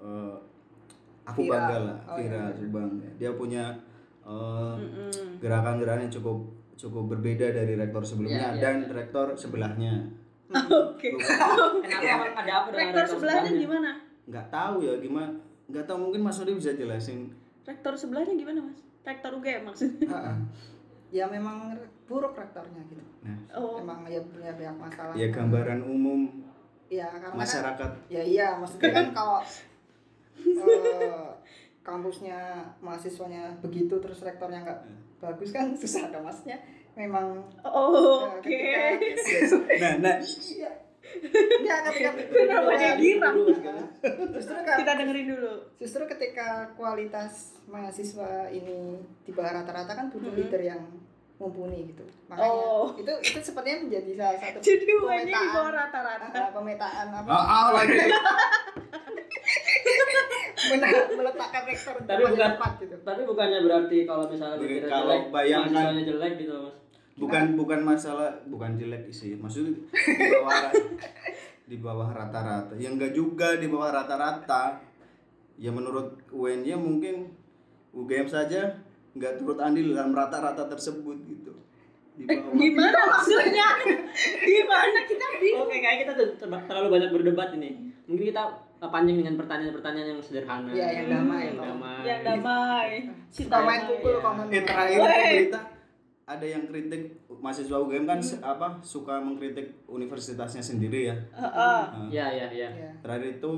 [SPEAKER 3] eh, aku
[SPEAKER 4] Viral.
[SPEAKER 3] bangga lah
[SPEAKER 4] Oh,
[SPEAKER 3] viral
[SPEAKER 4] iya.
[SPEAKER 3] aku bangga dia punya eh,
[SPEAKER 2] Mm-mm.
[SPEAKER 3] gerakan-gerakan yang cukup cukup berbeda dari rektor
[SPEAKER 1] Iya,
[SPEAKER 3] sebelumnya
[SPEAKER 1] iya,
[SPEAKER 3] dan
[SPEAKER 1] iya.
[SPEAKER 3] rektor sebelahnya kan
[SPEAKER 2] Oke.
[SPEAKER 1] Kenapa emang ada apa dengan
[SPEAKER 2] Rektor sebelahnya gimana?
[SPEAKER 3] nggak tahu ya gimana nggak tahu mungkin Mas Odi bisa jelasin
[SPEAKER 2] Rektor sebelahnya gimana, Mas? Rektor UGM maksudnya.
[SPEAKER 4] Heeh. ya memang buruk rektornya gitu.
[SPEAKER 3] nah
[SPEAKER 2] Oh.
[SPEAKER 4] Emang ya punya banyak masalah.
[SPEAKER 3] ya gambaran umum
[SPEAKER 4] Ya karena kan-
[SPEAKER 3] masyarakat
[SPEAKER 4] ya iya maksudnya kan kalau eh, kampusnya mahasiswanya begitu terus rektornya nggak bagus kan susah dong maksudnya memang
[SPEAKER 2] Oh,
[SPEAKER 4] eh,
[SPEAKER 2] Oke.
[SPEAKER 4] ketika-
[SPEAKER 3] nah nah
[SPEAKER 4] iya nggak ketika
[SPEAKER 2] Kenapa gitu? dia
[SPEAKER 1] Iya,
[SPEAKER 2] girang?
[SPEAKER 4] justru kan
[SPEAKER 2] Kita dengerin dulu.
[SPEAKER 4] justru ketika kualitas mahasiswa ini di bawah rata-rata kan butuh
[SPEAKER 2] Mhm.
[SPEAKER 4] leader yang mumpuni gitu makanya
[SPEAKER 2] Oh.
[SPEAKER 4] itu itu sepertinya menjadi salah satu
[SPEAKER 2] Jadi UN-nya di
[SPEAKER 4] pemetaan-
[SPEAKER 2] bawah rata-rata.
[SPEAKER 4] ah, pemetaan apa
[SPEAKER 3] ah, ah, lagi
[SPEAKER 4] mena- meletakkan rektor di
[SPEAKER 1] Tapi
[SPEAKER 4] tempat
[SPEAKER 1] bukan-
[SPEAKER 4] tempat gitu
[SPEAKER 1] Tapi bukannya berarti kalau misalnya
[SPEAKER 3] Bukan,
[SPEAKER 1] dikira
[SPEAKER 3] kalau
[SPEAKER 1] jelek,
[SPEAKER 3] bayangkan-
[SPEAKER 1] mahasiswanya jelek gitu mas.
[SPEAKER 3] bukan bukan masalah bukan jelek sih maksudnya di bawah ra- di bawah rata-rata ya enggak juga di bawah rata-rata ya menurut UNY mungkin UGM saja nggak turut andil dalam rata-rata tersebut gitu di bawah
[SPEAKER 2] Gimana maksudnya? Gimana kita bingung?
[SPEAKER 1] Oke, kayaknya kita ter- ter- terlalu banyak berdebat ini. Mungkin kita eh, panjang dengan pertanyaan-pertanyaan yang sederhana.
[SPEAKER 4] Iya, yang damai.
[SPEAKER 1] Yang damai.
[SPEAKER 2] Yang damai. Si
[SPEAKER 4] suka main pukul
[SPEAKER 2] iya.
[SPEAKER 1] ya.
[SPEAKER 4] komen
[SPEAKER 3] eh terakhir
[SPEAKER 2] Weh.
[SPEAKER 3] itu berita ada yang kritik mahasiswa UGM kan se- apa suka mengkritik universitasnya sendiri ya
[SPEAKER 2] Heeh.
[SPEAKER 3] Nah,
[SPEAKER 1] Iya, iya, iya.
[SPEAKER 4] Ya.
[SPEAKER 3] Terakhir itu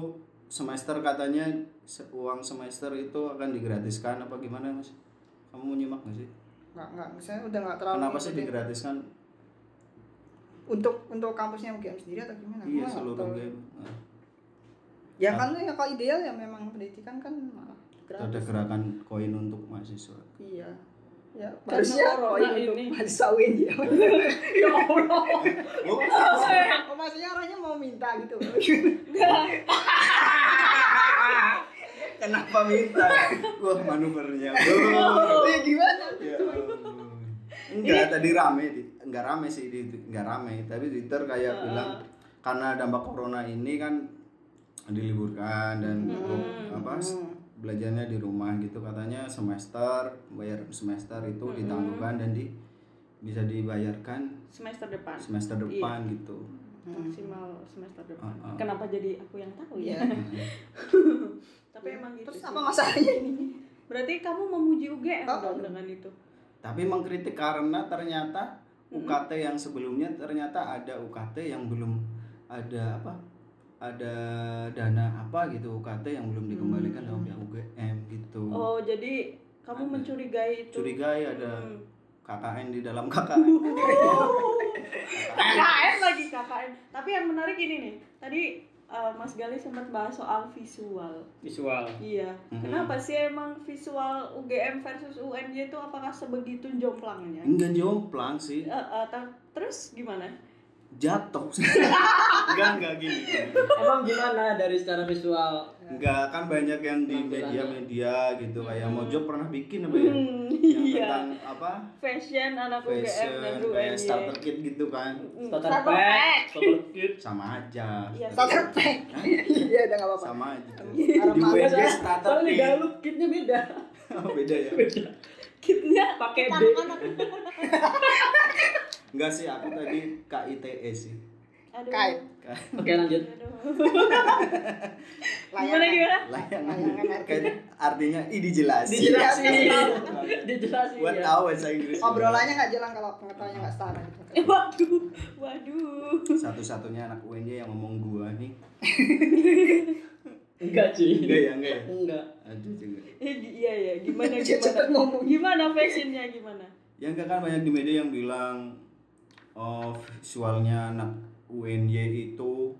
[SPEAKER 3] semester katanya se- uang semester itu akan digratiskan apa gimana mas? Kamu mau nyimak nggak sih?
[SPEAKER 4] nggak nggak misalnya udah nggak terlalu
[SPEAKER 3] Kenapa sih
[SPEAKER 4] ngikutin.
[SPEAKER 3] digratiskan?
[SPEAKER 4] untuk untuk kampusnya UGM sendiri atau gimana Gua
[SPEAKER 3] Iya
[SPEAKER 4] nggak
[SPEAKER 3] seluruh
[SPEAKER 4] tahu.
[SPEAKER 3] game. Nah,
[SPEAKER 4] ya kan ya kalau ideal ya memang pendidikan kan malah
[SPEAKER 3] Ah. Ada
[SPEAKER 4] gratis
[SPEAKER 3] gerakan koin untuk mahasiswa.
[SPEAKER 4] iya ya harusnya
[SPEAKER 2] corona
[SPEAKER 4] Roy untuk
[SPEAKER 2] ini.
[SPEAKER 4] mahasiswa UIN ya
[SPEAKER 2] ya Allah
[SPEAKER 4] oh, maksudnya orangnya mau minta gitu
[SPEAKER 3] Kenapa minta? Wah manuvernya.
[SPEAKER 4] ya gimana
[SPEAKER 3] Ya Allah. Enggak, tadi rame, di- enggak rame sih, di, di- enggak rame. Tapi Twitter kayak
[SPEAKER 2] Heeh.
[SPEAKER 3] bilang karena dampak corona ini kan diliburkan dan
[SPEAKER 2] Hmm.
[SPEAKER 3] apa belajarnya di rumah gitu katanya semester bayar semester itu
[SPEAKER 2] Hmm.
[SPEAKER 3] ditangguhkan dan di bisa dibayarkan
[SPEAKER 2] semester depan
[SPEAKER 3] semester depan gitu.
[SPEAKER 4] Hmm.
[SPEAKER 2] maksimal semester depan
[SPEAKER 3] Ah, ah.
[SPEAKER 2] kenapa jadi aku yang tahu ya
[SPEAKER 4] ya
[SPEAKER 2] tapi emang gitu
[SPEAKER 4] terus
[SPEAKER 2] sih.
[SPEAKER 4] apa masalahnya ini
[SPEAKER 2] berarti kamu memuji UGM
[SPEAKER 4] Oh.
[SPEAKER 2] dong dengan itu
[SPEAKER 3] Tapi mengkritik karena ternyata
[SPEAKER 2] Mm-mm.
[SPEAKER 3] UKT yang sebelumnya ternyata ada UKT yang belum ada apa? Ada dana apa gitu UKT yang belum dikembalikan
[SPEAKER 4] Hmm.
[SPEAKER 3] sama pihak UGM gitu.
[SPEAKER 2] oh jadi kamu
[SPEAKER 3] Ada.
[SPEAKER 2] mencurigai itu
[SPEAKER 3] Curigai ada
[SPEAKER 2] Hmm.
[SPEAKER 3] KKN di dalam KKN.
[SPEAKER 2] KKN lagi KKN. Tapi yang menarik ini nih, tadi eh, Mas Gali sempat bahas soal visual.
[SPEAKER 1] visual
[SPEAKER 2] Iya.
[SPEAKER 3] Mhm.
[SPEAKER 2] Kenapa sih emang visual UGM versus UNY itu apakah sebegitu jomplangnya?
[SPEAKER 3] Enggak jomplang
[SPEAKER 2] Eh,
[SPEAKER 3] sih,
[SPEAKER 2] eh, ta- terus gimana?
[SPEAKER 3] jatuh. enggak enggak gini.
[SPEAKER 1] emang gimana dari secara visual
[SPEAKER 2] Iya.
[SPEAKER 3] Enggak kan banyak yang di
[SPEAKER 1] Tampilannya.
[SPEAKER 3] media-media gitu kayak
[SPEAKER 2] Hmm.
[SPEAKER 3] Mojo pernah bikin apa ya?
[SPEAKER 2] Hmm,
[SPEAKER 3] Yang
[SPEAKER 2] iya.
[SPEAKER 3] tentang apa?
[SPEAKER 2] Fashion anak UGM
[SPEAKER 3] Fashion,
[SPEAKER 2] dan
[SPEAKER 3] kayak
[SPEAKER 2] UNY.
[SPEAKER 3] starter kit gitu kan.
[SPEAKER 2] Mm,
[SPEAKER 1] Hmm, starter pack starter kit
[SPEAKER 3] Sama aja.
[SPEAKER 2] Iya,
[SPEAKER 4] starter pack
[SPEAKER 3] Hah?
[SPEAKER 4] iya udah nggak apa-apa
[SPEAKER 3] sama aja
[SPEAKER 4] Arab
[SPEAKER 3] di
[SPEAKER 4] Manis,
[SPEAKER 3] WG
[SPEAKER 4] ya.
[SPEAKER 3] starter
[SPEAKER 1] Iya, soalnya di
[SPEAKER 3] kit
[SPEAKER 1] Galup kitnya beda
[SPEAKER 3] Oh, beda ya
[SPEAKER 2] Kitnya pakai D.
[SPEAKER 3] enggak sih aku tadi KITE E sih
[SPEAKER 2] Aduh.
[SPEAKER 4] Kain.
[SPEAKER 1] oke lanjut
[SPEAKER 2] Aduh. Gimana
[SPEAKER 4] layanan
[SPEAKER 2] gimana?
[SPEAKER 3] layanan
[SPEAKER 4] Layanan artinya.
[SPEAKER 3] kayak artinya ini dijelasin
[SPEAKER 1] dijelasin
[SPEAKER 3] Dijelasin.
[SPEAKER 1] dijelasin
[SPEAKER 3] buat
[SPEAKER 2] Iya.
[SPEAKER 1] ya.
[SPEAKER 3] tahu bahasa Inggris
[SPEAKER 4] obrolannya nggak jelas kalau pengetahuannya nggak setara gitu
[SPEAKER 2] Eh, waduh. Waduh.
[SPEAKER 3] satu-satunya anak UNJ yang ngomong gua nih
[SPEAKER 1] enggak
[SPEAKER 3] enggak
[SPEAKER 1] cuy
[SPEAKER 3] ya enggak ya
[SPEAKER 1] enggak
[SPEAKER 3] aduh juga
[SPEAKER 2] Eh, gi- iya ya, gimana
[SPEAKER 4] Dia cepet
[SPEAKER 2] gimana?
[SPEAKER 4] ngomong.
[SPEAKER 2] Gimana fashionnya gimana?
[SPEAKER 3] ya enggak kan banyak di media yang bilang oh visualnya anak UNJ itu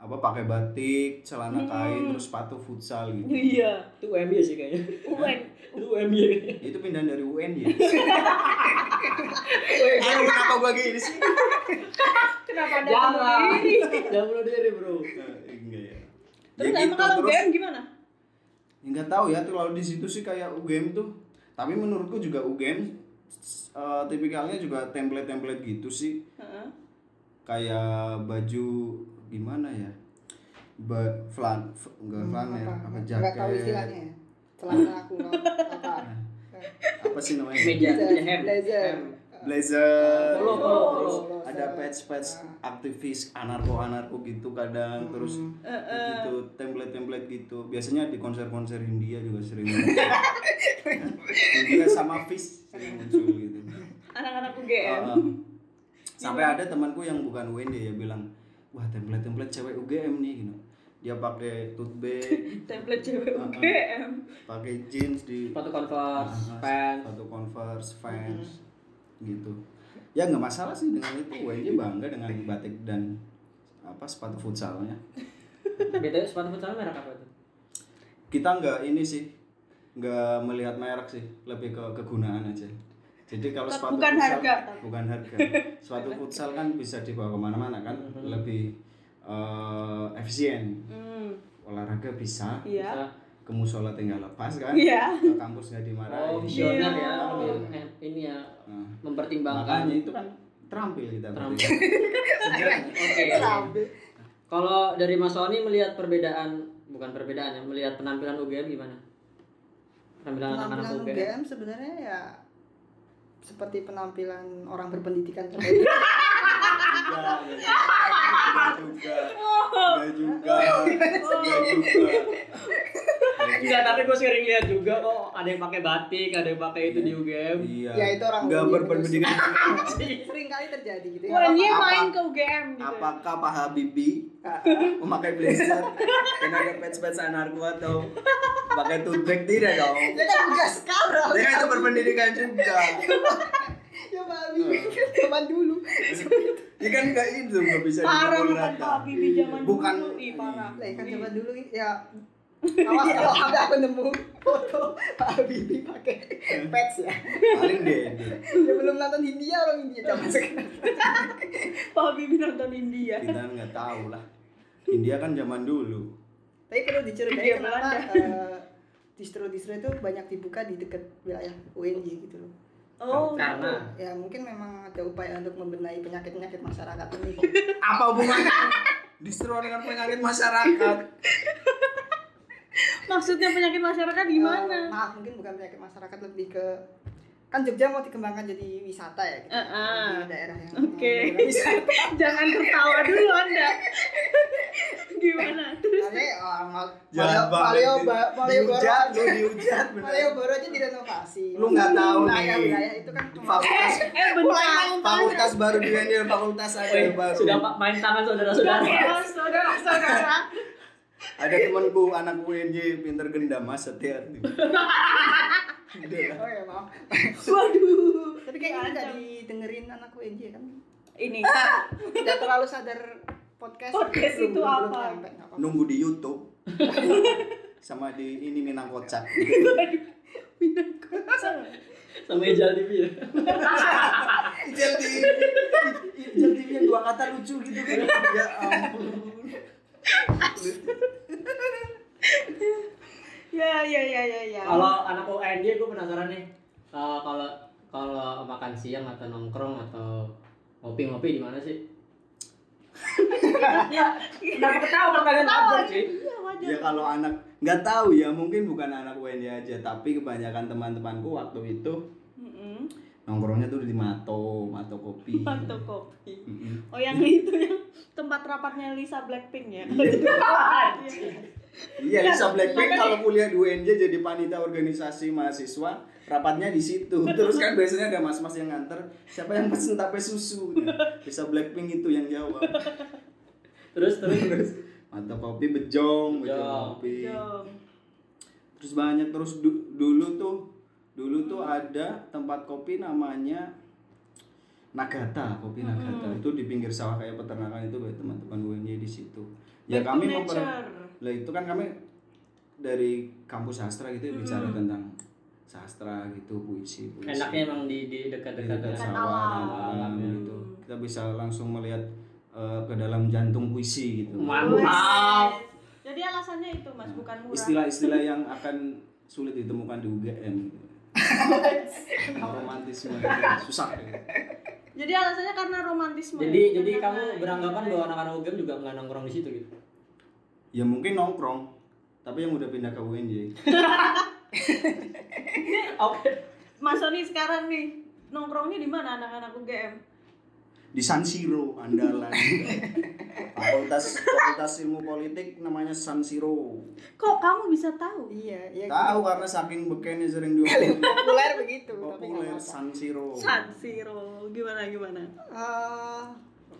[SPEAKER 3] apa pakai batik celana kain terus sepatu futsal gitu
[SPEAKER 2] Hmm. Iya,
[SPEAKER 1] itu UMY ya sih kayaknya
[SPEAKER 4] Iya.
[SPEAKER 2] UN.
[SPEAKER 1] itu UMY kayaknya.
[SPEAKER 3] itu pindahan dari UNJ Aduh, kenapa gua gini sih?
[SPEAKER 2] Kenapa ada
[SPEAKER 1] jangan
[SPEAKER 2] kamu ini?
[SPEAKER 1] jangan bunuh diri bro
[SPEAKER 3] enggak ya.
[SPEAKER 2] Terus
[SPEAKER 3] Ya
[SPEAKER 2] emang
[SPEAKER 3] gitu,
[SPEAKER 2] kalau
[SPEAKER 3] terus-
[SPEAKER 2] UGM gimana?
[SPEAKER 3] Enggak tahu ya tuh kalau di situ sih kayak UGM tuh. Tapi menurutku juga UGM eh, tipikalnya juga template-template gitu sih.
[SPEAKER 2] Heeh.
[SPEAKER 3] Kayak baju gimana ya? Ba flan f- enggak
[SPEAKER 2] Hmm,
[SPEAKER 3] flanel, apa jaket.
[SPEAKER 4] nggak tahu istilahnya ya. celana aku apa
[SPEAKER 3] Apa sih namanya?
[SPEAKER 1] meja meja hem
[SPEAKER 4] blazer
[SPEAKER 1] Hem.
[SPEAKER 3] Blazer. Gitu.
[SPEAKER 1] Polo, polo, polo.
[SPEAKER 3] Ada patch-patch aktivis anarko-anarko gitu kadang terus
[SPEAKER 1] Eh,
[SPEAKER 2] Heeh.
[SPEAKER 3] gitu template-template gitu biasanya di konser-konser India juga sering India sama Fish sering muncul gitu
[SPEAKER 2] Anak-anak UGM.
[SPEAKER 3] Ah, ah. sampai ada temanku yang bukan UND ya bilang wah template-template cewek UGM nih gitu dia pakai tote bag
[SPEAKER 2] Template cewek
[SPEAKER 3] Ah, ah.
[SPEAKER 2] UGM.
[SPEAKER 3] pakai jeans di
[SPEAKER 1] sepatu converse
[SPEAKER 3] Ah, ah,
[SPEAKER 1] pants
[SPEAKER 3] sepatu converse
[SPEAKER 2] Mm-hmm.
[SPEAKER 3] fans gitu ya nggak masalah sih dengan itu UND bangga dengan batik dan apa sepatu futsalnya
[SPEAKER 1] btw sepatu futsal merek apa itu
[SPEAKER 3] kita nggak ini sih nggak melihat merek sih lebih ke kegunaan aja jadi kalau
[SPEAKER 2] Bukan
[SPEAKER 3] sepatu futsal-
[SPEAKER 2] harga.
[SPEAKER 3] bukan harga sepatu futsal kan bisa dibawa kemana-mana kan
[SPEAKER 2] Mm-hmm.
[SPEAKER 1] Mhm.
[SPEAKER 3] lebih eh, efisien
[SPEAKER 2] Hmm,
[SPEAKER 3] olahraga bisa
[SPEAKER 2] iya.
[SPEAKER 1] Bisa.
[SPEAKER 3] ke musola tinggal lepas kan
[SPEAKER 2] Iya.
[SPEAKER 3] ke kampus nggak dimarahin
[SPEAKER 1] oh visioner ya
[SPEAKER 2] Iya.
[SPEAKER 1] lebih, eh, ini ya
[SPEAKER 3] Nah,
[SPEAKER 1] mempertimbangkan
[SPEAKER 3] makanya itu kan terampil kita
[SPEAKER 1] Terampil.
[SPEAKER 3] berarti. Sejarah.
[SPEAKER 1] oke
[SPEAKER 4] Rambut.
[SPEAKER 1] Kalau dari Mas Sony melihat perbedaan, bukan perbedaan ya, melihat penampilan UGM gimana? Penampilan anak-anak
[SPEAKER 4] penampilan
[SPEAKER 1] UGM.
[SPEAKER 4] UGM sebenarnya ya seperti penampilan orang berpendidikan terbaik.
[SPEAKER 3] Enggak, enggak juga enggak juga enggak juga Enggak juga.
[SPEAKER 1] Enggak, Iya, tapi gue sering lihat juga kok ada yang pakai batik, ada yang pakai itu di UGM.
[SPEAKER 3] Iya.
[SPEAKER 4] Ya, itu orang
[SPEAKER 3] nggak
[SPEAKER 4] UNJ
[SPEAKER 3] berpendidikan.
[SPEAKER 4] Sering kali terjadi gitu ya.
[SPEAKER 2] Wah, dia
[SPEAKER 3] Iya, Apa-
[SPEAKER 2] main ke UGM gitu.
[SPEAKER 3] Apakah Pak Habibie memakai blazer dan ada patch-patch anarko atau pakai tote bag tidak dong?
[SPEAKER 4] Ya kan enggak sekarang.
[SPEAKER 3] Dia itu berpendidikan juga.
[SPEAKER 4] Ya Babi, zaman dulu.
[SPEAKER 3] Ini kan nggak itu nggak bisa
[SPEAKER 2] Parah
[SPEAKER 3] dipukul
[SPEAKER 2] bukan
[SPEAKER 3] rata.
[SPEAKER 2] Pak Bibi zaman
[SPEAKER 3] Bukan.
[SPEAKER 2] dulu. Ih, parah.
[SPEAKER 4] Lah ya kan
[SPEAKER 2] Ih.
[SPEAKER 4] zaman dulu ya Awas
[SPEAKER 2] Iya.
[SPEAKER 4] kalau sampai aku nemu foto Pak Habibie pakai pets ya.
[SPEAKER 3] paling deh
[SPEAKER 4] Dia belum nonton Hindia orang India zaman sekarang.
[SPEAKER 2] Pak Habibie nonton India.
[SPEAKER 3] kita nggak tahu lah India kan zaman dulu
[SPEAKER 4] Tapi perlu dicurigai
[SPEAKER 2] India
[SPEAKER 4] kenapa
[SPEAKER 2] Iya, Belanda.
[SPEAKER 4] eh, distro-distro itu banyak dibuka di dekat wilayah UNJ gitu loh.
[SPEAKER 2] Oh,
[SPEAKER 1] Karena
[SPEAKER 4] Ya mungkin memang ada upaya untuk membenahi penyakit-penyakit masyarakat ini.
[SPEAKER 3] apa hubungannya distro dengan penyakit masyarakat
[SPEAKER 2] maksudnya penyakit masyarakat
[SPEAKER 4] Eh,
[SPEAKER 3] Oh.
[SPEAKER 2] gimana?
[SPEAKER 4] maaf mungkin bukan penyakit masyarakat lebih ke kan Jogja mau dikembangkan jadi wisata ya gitu.
[SPEAKER 2] Eh, eh.
[SPEAKER 4] Di daerah yang
[SPEAKER 2] Oke.
[SPEAKER 4] daerah wisata.
[SPEAKER 2] Jangan tertawa dulu Anda. gimana? Terus
[SPEAKER 4] Tapi oh, orang mau
[SPEAKER 3] Jangan
[SPEAKER 4] Paleo
[SPEAKER 3] banget
[SPEAKER 4] Ba- Paleo Baru
[SPEAKER 3] diujat
[SPEAKER 4] aja.
[SPEAKER 3] lu diujat
[SPEAKER 4] Paleo
[SPEAKER 3] bener
[SPEAKER 4] Baru aja direnovasi.
[SPEAKER 3] gitu. lu nggak tahu
[SPEAKER 4] wilayah, wilayah
[SPEAKER 3] nih
[SPEAKER 4] itu kan
[SPEAKER 3] fakultas
[SPEAKER 2] eh bentar.
[SPEAKER 3] fakultas baru di Wendir fakultas ada yang baru
[SPEAKER 1] sudah Pak, main tangan saudara-saudara.
[SPEAKER 2] Saudara, saudara, saudara.
[SPEAKER 3] ada temanku anak UNJ pinter gendam mas setia Udah lah.
[SPEAKER 4] Oh ya maaf.
[SPEAKER 2] Waduh.
[SPEAKER 4] Tapi kayaknya ini nggak
[SPEAKER 2] Diancam.
[SPEAKER 4] didengerin anak UNJ kan.
[SPEAKER 2] Ini.
[SPEAKER 3] Iya.
[SPEAKER 4] Tidak terlalu sadar podcast.
[SPEAKER 2] Podcast
[SPEAKER 4] belum-
[SPEAKER 2] itu
[SPEAKER 4] belum-
[SPEAKER 2] apa?
[SPEAKER 4] belum nyampe, nggak apa-apa.
[SPEAKER 3] nunggu di YouTube sama di ini Minang Kocak
[SPEAKER 1] Sama Ejal TV ya.
[SPEAKER 3] Ijel TV Ijel TV yang dua kata lucu gitu kan ya ampun
[SPEAKER 2] Ya, ya, ya, ya, ya.
[SPEAKER 1] Kalau anak UNJ gue penasaran nih. Eh, kalau kalau makan siang atau nongkrong atau ngopi-ngopi di mana sih?
[SPEAKER 4] Iya.
[SPEAKER 1] ya, kenapa ketawa pertanyaan wajar sih?
[SPEAKER 2] Iya, wajar.
[SPEAKER 3] ya kalau anak nggak tahu ya mungkin bukan anak UNJ aja tapi kebanyakan teman-temanku waktu itu
[SPEAKER 2] Mm-mm.
[SPEAKER 3] nongkrongnya tuh di Mato Mato Kopi
[SPEAKER 2] Mantu kopi.
[SPEAKER 3] Mm-mm.
[SPEAKER 2] Oh yang itu yang tempat rapatnya Lisa Blackpink ya.
[SPEAKER 3] Iya, Lisa Blackpink kalau kuliah di UNJ jadi panita organisasi mahasiswa, rapatnya di situ. Terus kan biasanya ada mas-mas yang nganter, siapa yang pesen tape susu? Nah, Lisa Blackpink itu yang jawab.
[SPEAKER 1] Terus terus
[SPEAKER 3] Terus mantap kopi bejong, bejong
[SPEAKER 1] Bejong.
[SPEAKER 3] kopi.
[SPEAKER 2] Jom.
[SPEAKER 3] Terus banyak terus du- dulu tuh dulu tuh ada tempat kopi namanya Nagata, kopi Nagata itu di pinggir sawah kayak peternakan itu buat teman-teman UNJ di situ.
[SPEAKER 2] Back
[SPEAKER 3] Ya
[SPEAKER 2] to
[SPEAKER 3] kami memper
[SPEAKER 2] nature.
[SPEAKER 3] lah itu kan kami dari kampus sastra gitu ya, bicara
[SPEAKER 2] Mm.
[SPEAKER 3] tentang sastra gitu puisi puisi
[SPEAKER 1] enaknya emang di di
[SPEAKER 3] di
[SPEAKER 1] dekat-dekat
[SPEAKER 3] dekat
[SPEAKER 1] ya.
[SPEAKER 2] Dekat
[SPEAKER 3] sawah
[SPEAKER 1] alam.
[SPEAKER 3] alam gitu kita bisa langsung melihat eh, ke dalam jantung puisi gitu
[SPEAKER 1] Mantap.
[SPEAKER 2] Jadi alasannya itu Mas bukan murah.
[SPEAKER 3] istilah-istilah yang akan sulit ditemukan di UGM gitu. romantisme gitu, susah gitu.
[SPEAKER 2] Jadi alasannya karena romantisme.
[SPEAKER 1] Jadi
[SPEAKER 2] bukan
[SPEAKER 1] jadi
[SPEAKER 2] karena
[SPEAKER 1] kamu
[SPEAKER 2] ini,
[SPEAKER 1] beranggapan
[SPEAKER 2] karena
[SPEAKER 1] bahwa
[SPEAKER 2] ini.
[SPEAKER 1] anak-anak UGM juga nggak nongkrong di situ gitu.
[SPEAKER 3] ya mungkin nongkrong tapi yang udah pindah ke UNJ
[SPEAKER 1] Oke.
[SPEAKER 2] Mas Sony sekarang nih nongkrongnya di mana anak-anak UGM?
[SPEAKER 3] di San Siro andalan fakultas fakultas ilmu politik namanya San Siro
[SPEAKER 2] Kok kamu bisa tahu?
[SPEAKER 4] Iya, iya.
[SPEAKER 3] Tahu karena saking bekennya sering diomelin.
[SPEAKER 4] Paling populer begitu. tapi nggak
[SPEAKER 3] Populer
[SPEAKER 4] apa-apa.
[SPEAKER 3] San Siro.
[SPEAKER 2] San Siro gimana gimana?
[SPEAKER 4] Eh,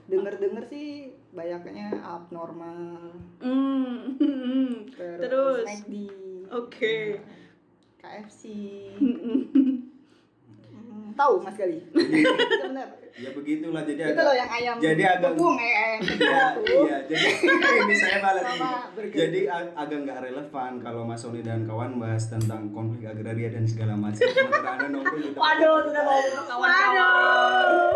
[SPEAKER 4] Dengar-dengar sih banyaknya abnormal.
[SPEAKER 2] Hmm.
[SPEAKER 4] Terus,
[SPEAKER 2] Terus?
[SPEAKER 4] McD.
[SPEAKER 2] Oke.
[SPEAKER 4] KFC.
[SPEAKER 2] Mm-mm.
[SPEAKER 4] Hmm, Tahu Mas Gali? Itu benar.
[SPEAKER 3] Ya begitulah jadi
[SPEAKER 4] Itu
[SPEAKER 3] ada.
[SPEAKER 4] loh yang ayam.
[SPEAKER 3] Jadi agak-
[SPEAKER 4] tepung, eh, ayam
[SPEAKER 3] Ya,
[SPEAKER 4] tepung.
[SPEAKER 3] iya, jadi ini saya balas ini.
[SPEAKER 4] Sama burger.
[SPEAKER 3] Jadi ag- agak nggak relevan kalau Mas Sony dan kawan bahas tentang konflik agraria dan segala macam. Sementara Anda nongkrong di tempat-
[SPEAKER 1] Waduh, sudah ngobrol kawan-kawan.
[SPEAKER 2] Waduh.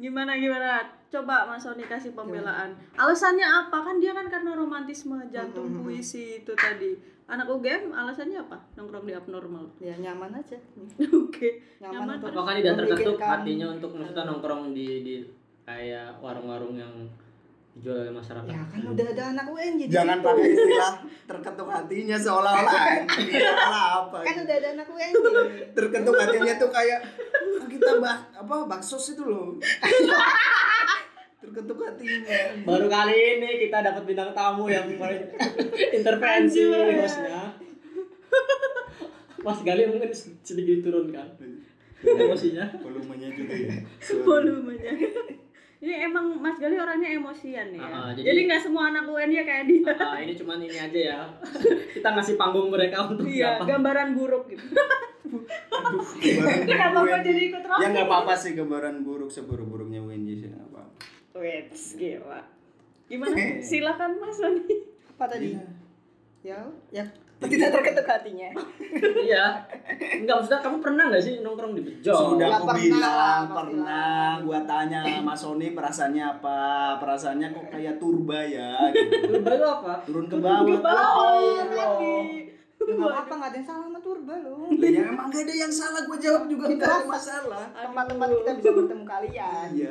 [SPEAKER 2] Gimana gimana? Coba Mas Sony kasih pembelaan. Alasannya apa? Kan dia kan karena romantisme
[SPEAKER 4] Hmm, hmm,
[SPEAKER 2] jantung
[SPEAKER 4] hmm.
[SPEAKER 2] puisi itu tadi. Anak UGM alasannya apa? Nongkrong di abnormal.
[SPEAKER 4] Ya nyaman aja.
[SPEAKER 2] Oke.
[SPEAKER 4] Nyaman,
[SPEAKER 2] Nyaman
[SPEAKER 4] untuk
[SPEAKER 1] Apakah tidak terketuk
[SPEAKER 4] memikirkan-
[SPEAKER 1] hatinya untuk maksudnya nongkrong di di kayak warung-warung yang dijual oleh masyarakat?
[SPEAKER 4] Ya kan udah ada anak UNJ. di
[SPEAKER 3] Jangan
[SPEAKER 4] situ.
[SPEAKER 3] pakai istilah terketuk hatinya seolah-olah seolah apa.
[SPEAKER 4] Kan
[SPEAKER 3] gitu.
[SPEAKER 4] udah ada anak UNJ.
[SPEAKER 3] Terketuk hatinya tuh kayak "Ah, kita bah apa baksos itu loh. terketuk hatinya.
[SPEAKER 1] Baru kali ini kita dapat bintang tamu yang paling intervensi
[SPEAKER 2] Anjir.
[SPEAKER 1] hostnya. Mas Gali mungkin sedikit turunkan emosinya.
[SPEAKER 3] Volumenya juga ya.
[SPEAKER 2] Volumenya. Ini emang Mas Gali orangnya emosian ya.
[SPEAKER 1] Ah, ah, jadi-
[SPEAKER 2] jadi nggak semua anak UN ya kayak dia.
[SPEAKER 1] Ah, ini cuman ini aja ya. Kita ngasih panggung mereka untuk
[SPEAKER 2] Iya,
[SPEAKER 1] apa?
[SPEAKER 2] gambaran buruk gitu.
[SPEAKER 3] Aduh, gambaran
[SPEAKER 2] Kenapa
[SPEAKER 3] buruk
[SPEAKER 2] gua
[SPEAKER 3] UNJ.
[SPEAKER 2] jadi ikut
[SPEAKER 3] Ya
[SPEAKER 2] roasting?
[SPEAKER 3] nggak apa-apa sih gambaran buruk seburuk-buruknya UNJ sih nggak apa-apa.
[SPEAKER 1] Eh.
[SPEAKER 2] Wets, gila. Gimana? Silakan Mas Sony.
[SPEAKER 4] apa tadi?
[SPEAKER 3] Iya.
[SPEAKER 4] Ya, ya tidak terketuk hatinya.
[SPEAKER 1] iya enggak maksudnya kamu pernah nggak sih nongkrong di bejol
[SPEAKER 4] Sudah.
[SPEAKER 3] Sudah aku
[SPEAKER 4] pernah lah,
[SPEAKER 3] bilang
[SPEAKER 4] pasti
[SPEAKER 3] pernah.
[SPEAKER 4] lah.
[SPEAKER 3] Gua tanya Mas Sony perasaannya apa? Perasaannya kok kayak turba ya? gitu.
[SPEAKER 1] Turba itu apa
[SPEAKER 3] Turun ke bawah.
[SPEAKER 2] Ke bawah,
[SPEAKER 3] tolong.
[SPEAKER 2] tadi.
[SPEAKER 1] Oh.
[SPEAKER 4] Ya, nggak apa nggak ada yang salah sama turba lo.
[SPEAKER 3] Lah, ya emang gak ada yang salah gua jawab juga
[SPEAKER 4] Gitu
[SPEAKER 3] nggak ada
[SPEAKER 4] apa?
[SPEAKER 3] masalah.
[SPEAKER 4] Tempat-tempat kita bisa bertemu kalian.
[SPEAKER 3] Iya.